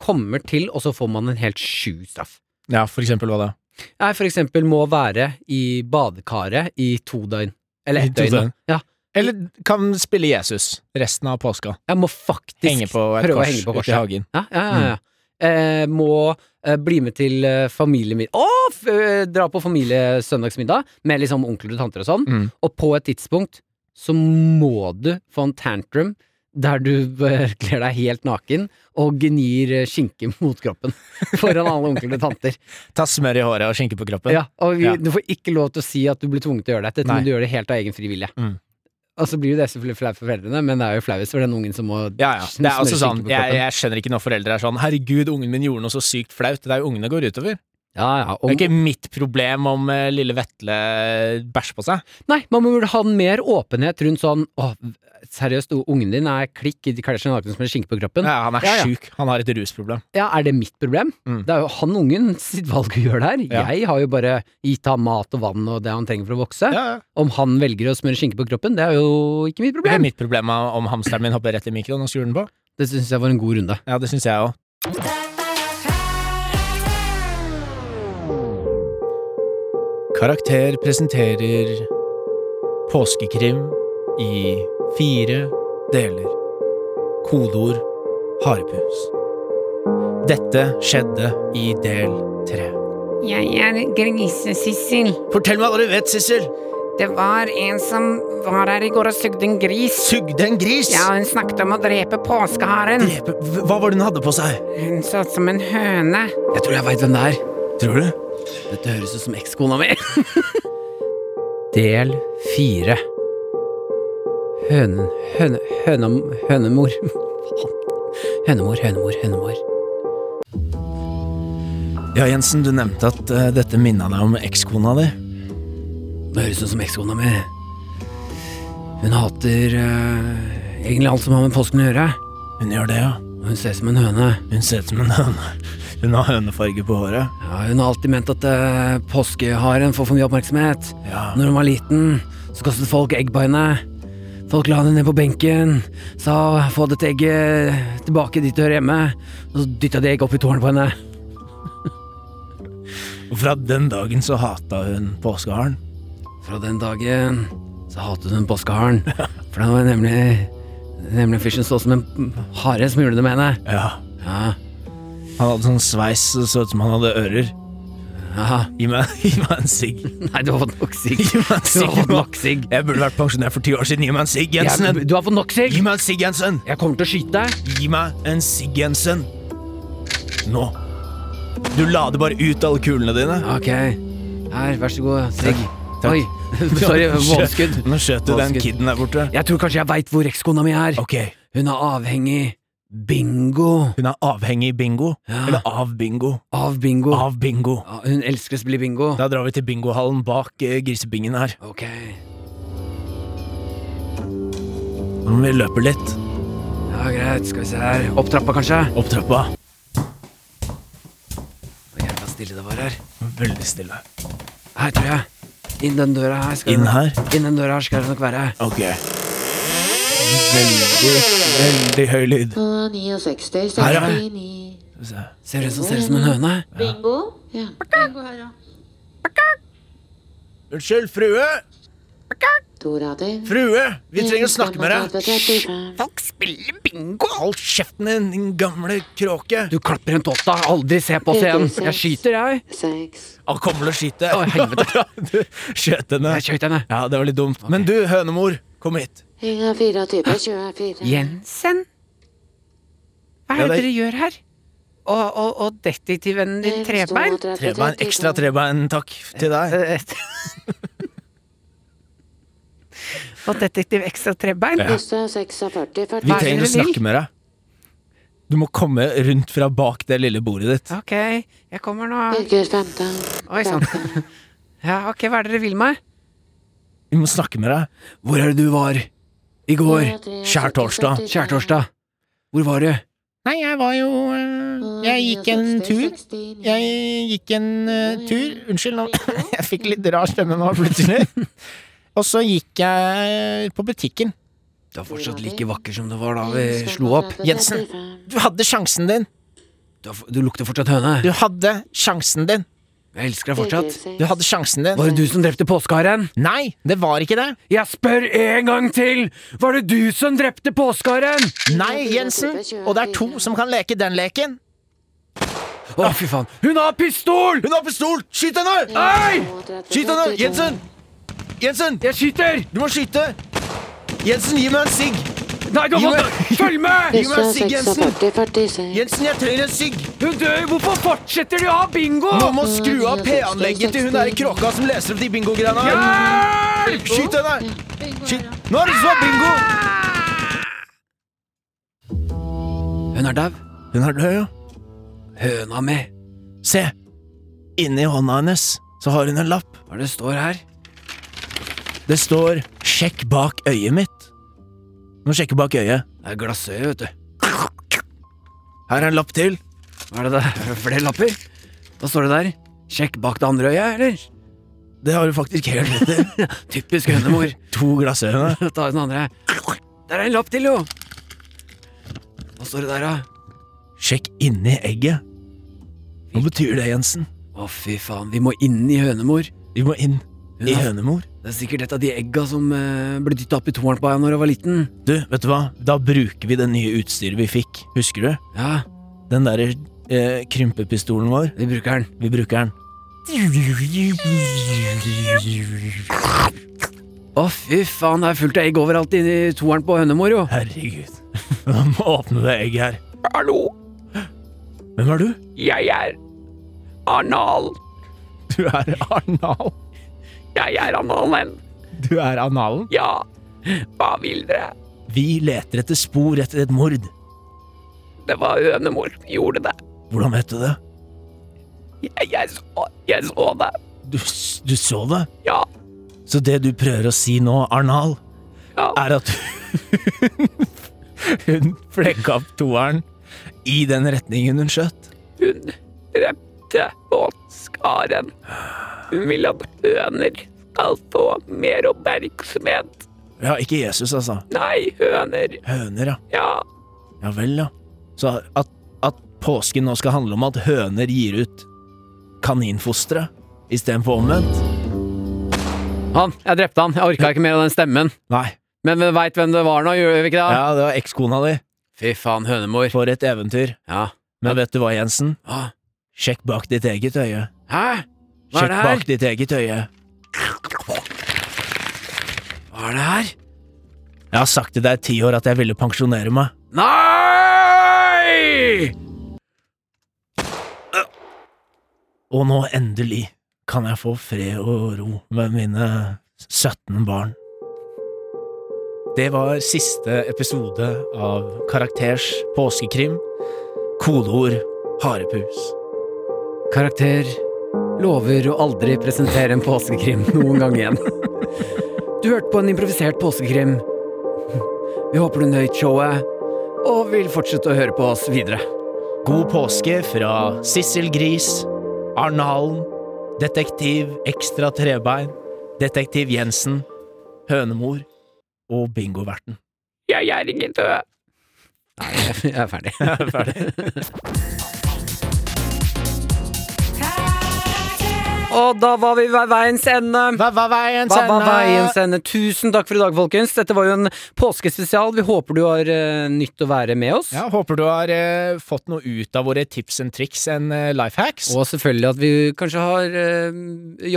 B: kommer til, og så får man en helt sju straff.
C: Ja, for eksempel hva da?
B: Jeg for eksempel må være i badekaret i to døgn. Eller
C: I
B: ett
C: to
B: døgn. da.
C: døgn.
B: Ja.
C: Eller kan spille Jesus resten av påska.
B: Jeg må faktisk
C: Henge på et
B: prøve
C: kors
B: å henge på
C: ute i
B: korset.
C: hagen. Mm.
B: Ja, ja, ja, ja. Eh, må eh, bli med til eh, familien min Å! F eh, dra på familiesøndagsmiddag med liksom onkler og tanter og sånn.
C: Mm.
B: Og på et tidspunkt så må du få en tantrum der du eh, kler deg helt naken og gnir eh, skinke mot kroppen foran alle onkler og tanter.
C: Ta smør i håret og skinke på kroppen.
B: Ja, og vi,
C: Ja.
B: du får ikke lov til å si at du blir tvunget til å gjøre dette. Dette
C: Nei.
B: må du gjøre det helt av egen fri vilje.
C: Mm.
B: Og så blir jo det selvfølgelig flaut for foreldrene, men det er jo flauest for den ungen som må
C: Ja, ja. Det er
B: smøre
C: også
B: skinke
C: sånn,
B: på
C: jeg,
B: kroppen.
C: jeg skjønner ikke når foreldre er sånn 'herregud, ungen min gjorde noe så sykt flaut', det er jo ungene går utover.
B: Ja, ja. Om,
C: Det er ikke mitt problem om eh, lille Vetle bæsjer på seg.
B: Nei, man burde ha mer åpenhet rundt sånn Åh, seriøst, o- ungen din er klikk, de kler seg naken som en skinke på kroppen.
C: Ja, han er
B: Ja, ja.
C: sjuk. Han har et rusproblem.
B: Ja, er det mitt problem?
C: Mm.
B: Det er jo han ungen sitt valg å gjøre det her.
C: Ja.
B: Jeg har jo bare gitt ham mat og vann og det han trenger for å vokse.
C: Ja, ja.
B: Om han velger å smøre skinke på kroppen, det er jo ikke mitt
C: Det er
B: problem.
C: mitt problem om hamsteren min hopper rett i mikroen og skrur den på.
B: Det syns jeg var en god runde.
C: Ja, det syns jeg òg. Karakter presenterer påskekrim i fire deler. Kodeord harepus. Dette skjedde i del tre.
G: Jeg er Grise-Sissel.
C: Fortell meg hva du vet, Sissel!
G: Det var en som var her i går og sugde en gris.
C: Sugde en gris!
G: Ja, hun snakket om å drepe påskeharen.
C: Drepe Hva var det hun hadde på seg?
G: Hun så ut som en høne.
B: Jeg tror jeg veit hvem det er.
C: Tror du?
B: Dette høres ut som ekskona mi. Del fire. Hønen... Høne... Hønem... Hønemor. Faen. Hønemor, hønemor, hønemor.
C: Ja, Jensen, du nevnte at eh, dette minna deg om ekskona di.
B: Det høres ut som ekskona mi. Hun hater eh, egentlig alt som har med påsken å gjøre.
C: Hun gjør det, ja.
B: Og Hun ser ut som en høne.
C: Hun ser ut som en høne. Hun har hønefarge på håret.
B: Ja, hun har alltid ment at eh, påskeharen får for mye oppmerksomhet.
C: Ja.
B: Når hun var liten, så kastet folk egg på henne. Folk la henne ned på benken, sa 'få dette egget tilbake dit det hører hjemme', og så dytta de egg opp i tårnet på henne.
C: Og fra den dagen så hata hun påskeharen.
B: Fra den dagen så hatet hun påskeharen, for det var nemlig, nemlig en fyr som så som en hare som gjorde det med henne.
C: Ja.
B: Ja,
C: Han hadde sånn sveis som så ut som han hadde ører.
B: ja.
C: Gi meg, gi meg en sigg.
B: Nei, du har fått nok sigg.
C: Gi
B: Du
C: meg en
B: har
C: sigg
B: fått
C: nå.
B: nok sigg.
C: Jeg burde vært pensjonert for ti år siden. Gi meg en sigg, Jensen.
B: Jeg- Du har fått nok sigg.
C: Gi meg en sigg, Jensen.
B: Jeg kommer til å skyte deg.
C: Gi meg en sigg, Jensen. Nå. Du lader bare ut alle kulene dine.
B: Ok. Her, vær så god. Sigg.
C: Takk.
B: Oi. Sorry, vålskudd.
C: Nå skjøt du den
B: Vålskudd.
C: kiden der borte.
B: Jeg tror kanskje jeg veit hvor ekskona mi er.
C: Ok.
B: Hun er avhengig bingo.
C: Hun er avhengig bingo.
B: Ja.
C: Eller av bingo.
B: Av bingo.
C: Av bingo.
B: Ja, Hun elsker å spille bingo.
C: Da drar vi til bingohallen bak eh, grisebingen her.
B: Ok.
C: Nå må vi løpe litt.
B: Ja, greit. Skal vi se her. Opp trappa, kanskje?
C: Opp trappa.
B: Det er jævla stille det var her.
C: Veldig stille.
B: Her, tror jeg. Inn den døra her. Skal
C: Inn
B: det-
C: her?
B: Inn den døra her skal det nok være.
C: Ok. Veldig, veldig høy lyd.
H: 69,
C: Her, ja. Skal
H: 69.
C: vi se.
B: Ser hun som ser ut som en høne?
H: Bingo. Ja. Bingo her, ja.
C: Unnskyld, frue!
H: Dora di.
C: Frue! Vi trenger å snakke med deg.
H: 35.
C: Hold kjeften din, din gamle kråke.
B: Du klapper en tåta. Aldri se på oss igjen. Jeg skyter, jeg.
H: Seks.
C: Han kommer til å skyte.
B: Å, helvete.
C: Du skjøt henne.
B: Jeg skjøt henne.
C: Ja, det var litt dumt. Men du, hønemor, kom hit.
H: Inga 24, 24.
G: Jensen? Hva
C: Ja,
G: er det
C: det-
G: dere gjør her? Og, og, og detektivvennen din, Trebein?
C: Trebein, ekstra trebein, takk til deg.
G: Eh, Og detektiv Ekstra
B: Eh,
G: Trebein?
C: Ja.
H: Kosta 46, 40.
C: Vi
G: Hva er
C: trenger å
G: det dere vil?
C: snakke med deg. Du må komme rundt fra bak det lille bordet ditt.
G: Ok, jeg kommer nå.
H: Birger 15.
G: Oi sann.
H: 15.
G: Ja, ok, hva er det dere vil meg?
C: Vi må snakke med deg.
B: Hvor er det du var i går?
H: 73,
C: Skjærtorsdag.
H: 75.
B: Skjærtorsdag. Hvor var du?
C: Nei, jeg var jo eh, Jeg gikk en
H: 69,
C: tur.
H: 69.
C: Jeg gikk en eh, tur. Unnskyld, nå. jeg fikk litt rar stemme nå plutselig. Og så gikk jeg på butikken.
B: Du er fortsatt like vakker som du var da vi slo opp.
H: 35,
C: Jensen.
H: 35.
C: Du hadde sjansen din.
B: Du, er f- du lukter fortsatt høne.
C: Du hadde sjansen din.
B: Jeg elsker deg fortsatt.
H: Birger,
C: Du hadde sjansen din.
B: Var det du som drepte påskeharen?
C: Nei, det var ikke det.
B: Jeg spør en gang til! Var det du som drepte påskeharen?
C: Nei, Jensen. Og det er to som kan leke den leken.
B: Å, fy faen. Hun har pistol!
C: Hun har pistol! Skyt henne!
B: Hei!
H: 32,
C: Skyt henne!
H: 32.
C: Jensen! Jensen!
B: Jeg skyter!
C: Du må skyte! Jensen, gi meg en sigg!
B: Nei, du har fått Følg med!
C: Gi meg en sigg, Jensen!
H: 46, 46.
C: Jensen, jeg trenger en sigg!
B: Hun dør! Hvorfor fortsetter de å ha bingo?
C: Noen må skru av P-anlegget til hun der kråka som leser opp de bingogreiene her!
B: Hjelp!
C: Skyt henne! Skyt! Nå er det så bingo!
B: Hun er dau.
C: Hun er død, ja.
B: Høna mi.
C: Se! Inni hånda hennes så har hun en lapp.
B: Hva er det står her?
C: Det står 'Sjekk bak øyet mitt'. Du må sjekke bak øyet.
B: Det er glassøye, vet du.
C: Her er en lapp til.
B: Hva er det der? Flere lapper? Hva står det der? Sjekk bak det andre øyet, eller?
C: Det har du faktisk helt rett i.
B: Typisk hønemor.
C: To glassøyne.
B: Ta den andre. Der er en lapp til, jo! Hva står det der, da?
C: Sjekk inni egget. Hva betyr det, Jensen?
B: Å, fy faen. Vi må inn i hønemor.
C: Vi må inn
B: Hun
C: i
B: har-
C: hønemor.
B: Det er sikkert et av de egga som eh, ble dytta opp i tårn på henne når hun var liten.
C: Du, vet du hva? Da bruker vi det nye utstyret vi fikk. Husker du?
B: Ja,
C: Den derre eh, krympepistolen vår.
B: vi bruker den.
C: Vi bruker den.
B: Å, fy faen. Det er fullt av egg overalt inni toeren på hønemor, jo.
C: Herregud. Nå må åpne det egget her.
B: Hallo,
C: Hvem er du?
B: jeg er anal.
C: Du er Arnal.
B: Jeg er analen.
C: Du er Analen?
B: Ja. Hva vil dere?
C: Vi leter etter spor etter et mord.
B: Det var hønemor som gjorde det.
C: Hvordan vet du det?
B: Jeg, jeg, så, jeg så det.
C: Du, s- du så det?
B: Ja.
C: Så det du prøver å si nå, Arnal,
B: Ja.
C: er at hun flekka opp toeren i den retningen hun skjøt?
B: Hun drepte båtskaren. Hun vil at høner skal få mer oppmerksomhet.
C: Ja, ikke Jesus, altså.
B: Nei, høner.
C: Høner, ja.
B: Ja.
C: Ja vel, ja. Så at, at påsken nå skal handle om at høner gir ut kaninfostre istedenfor omvendt?
B: Han, jeg drepte han. Jeg orka ikke mer av den stemmen.
C: Nei.
B: Men vi veit hvem det var nå, gjør vi ikke det?
C: Ja, det var ekskona di.
B: Fy faen, hønemor.
C: For et eventyr.
B: Ja.
C: Men vet du hva, Jensen?
B: Hva?
C: Sjekk bak ditt eget øye.
B: Hæ? Hva er
C: Sjekk
B: det her?
C: bak ditt eget øye.
B: Hva er det her?
C: Jeg har sagt til deg i ti år at jeg ville pensjonere meg.
B: Nei!
C: Og nå endelig kan jeg få fred og ro med mine 17 barn. Det var siste episode av Karakters påskekrim. Kodeord harepus.
B: Karakter lover å aldri presentere en påskekrim noen gang igjen. Du hørte på en improvisert påskekrim. Vi håper du nøt showet, og vil fortsette å høre på oss videre.
C: God påske fra Sissel Gris, Arne Hallen, Detektiv Ekstra Trebein, Detektiv Jensen, Hønemor og Bingoverten.
B: Jeg er ingen død. Nei, jeg er ferdig. Og da var vi ved veiens ende.
C: Hva var veiens
B: Hva var
C: eh,
B: veiens ende? Tusen takk for i dag, folkens. Dette var jo en påskespesial. Vi håper du har eh, nytt å være med oss.
C: Ja, håper du har eh, fått noe ut av våre tips and triks and eh, life hacks.
B: Og selvfølgelig at vi kanskje har øh,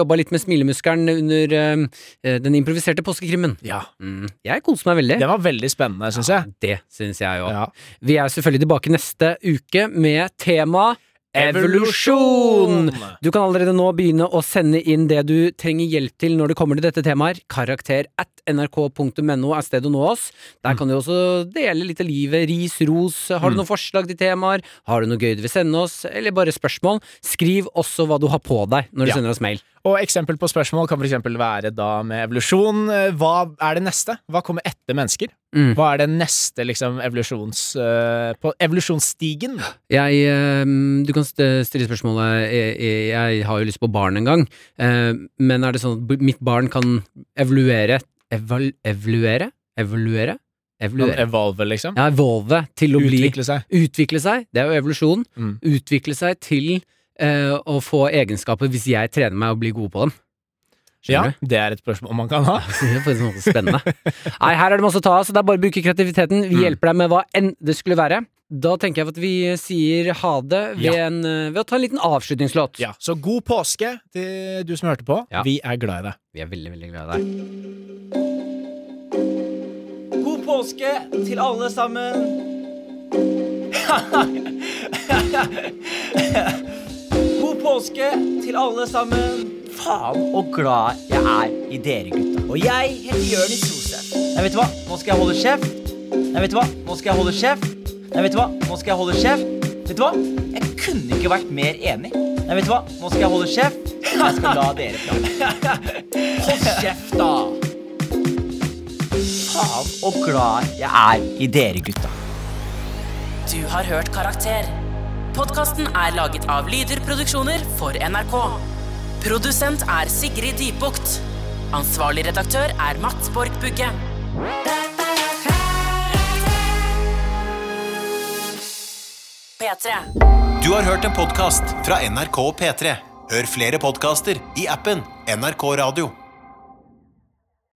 B: jobba litt med smilemuskelen under eh, eh, den improviserte påskekrimmen.
C: ja,
B: Mm. Jeg koser meg veldig.
C: det var veldig spennende, syns jeg.
B: Det syns jeg òg.
C: Ja.
B: Vi er selvfølgelig tilbake neste uke med tema
C: Evolusjon!
B: Du kan allerede nå begynne å sende inn det du trenger hjelp til når det kommer til dette temaet. Karakter at nrk.no er stedet å nå oss.
C: Mm.
B: Der kan du også dele litt av livet. Ris, ros. Har du noen forslag til temaer? Har du noe gøy du vil sende oss? Eller bare spørsmål? Skriv også hva du har på deg når du
C: Ja.
B: sender oss mail.
C: Og eksempel på spørsmål kan for eksempel være da med evolusjon. eh, Hva er det neste? Hva kommer etter mennesker?
B: Mm.
C: Hva er det neste liksom evolusjons... eh, på evolusjonsstigen?
B: Jeg, ehm, du kan st- stille spørsmålet jeg, jeg- jeg har jo lyst på barn en gang, ehm, men er det sånn at b- mitt barn kan evaluere Eval, Evaluere? Evaluere?
C: Kan
B: Evaluere.
C: evolve, liksom?
B: Ja, evolve til å bli
C: Utvikle seg?
B: Utvikle seg, det er jo evolusjon.
C: Mm.
B: Utvikle seg til eh, å få egenskaper hvis jeg trener meg og blir god på dem.
C: Ja,
B: Skjønner du?
C: det er et spørsmål man kan ha.
B: Det er faktisk noe spennende. Nei, her er det masse å ta av, så det er bare å bruke kreativiteten.
C: Mm.
B: Vi hjelper deg med hva enn det skulle være. Da tenker jeg at vi sier ha det ved,
C: Ja.
B: en, eh, ved å ta en liten avslutningslåt.
C: Ja, så god påske til du som hørte på.
B: Ja.
C: Vi er glad i deg.
B: Vi er veldig, veldig glad i deg.
D: God påske til alle sammen. God påske til alle sammen. Faen og glad jeg er i dere, gutta. Og jeg heter Jørnis Josef. Nei, vet du hva? Nå skal jeg holde kjeft. Nei, vet du hva? Nå skal jeg holde kjeft. Nei, vet du hva? Nå skal jeg holde kjeft. Vet du hva? Jeg kunne ikke vært mer enig. Nei, vet du hva? Nå skal jeg holde kjeft. Jeg skal la dere prate. Hold kjeft, da! Faen og glad jeg er i dere, gutta.
G: Du har hørt Karakter. Podkasten er laget av Lyder Produksjoner for NRK. Produsent er Sigrid Dybukt. Ansvarlig redaktør er Mats Borg Bugge. P3.
I: Du har hørt en podcast fra NRK P3. Hør flere podcaster i appen NRK Radio.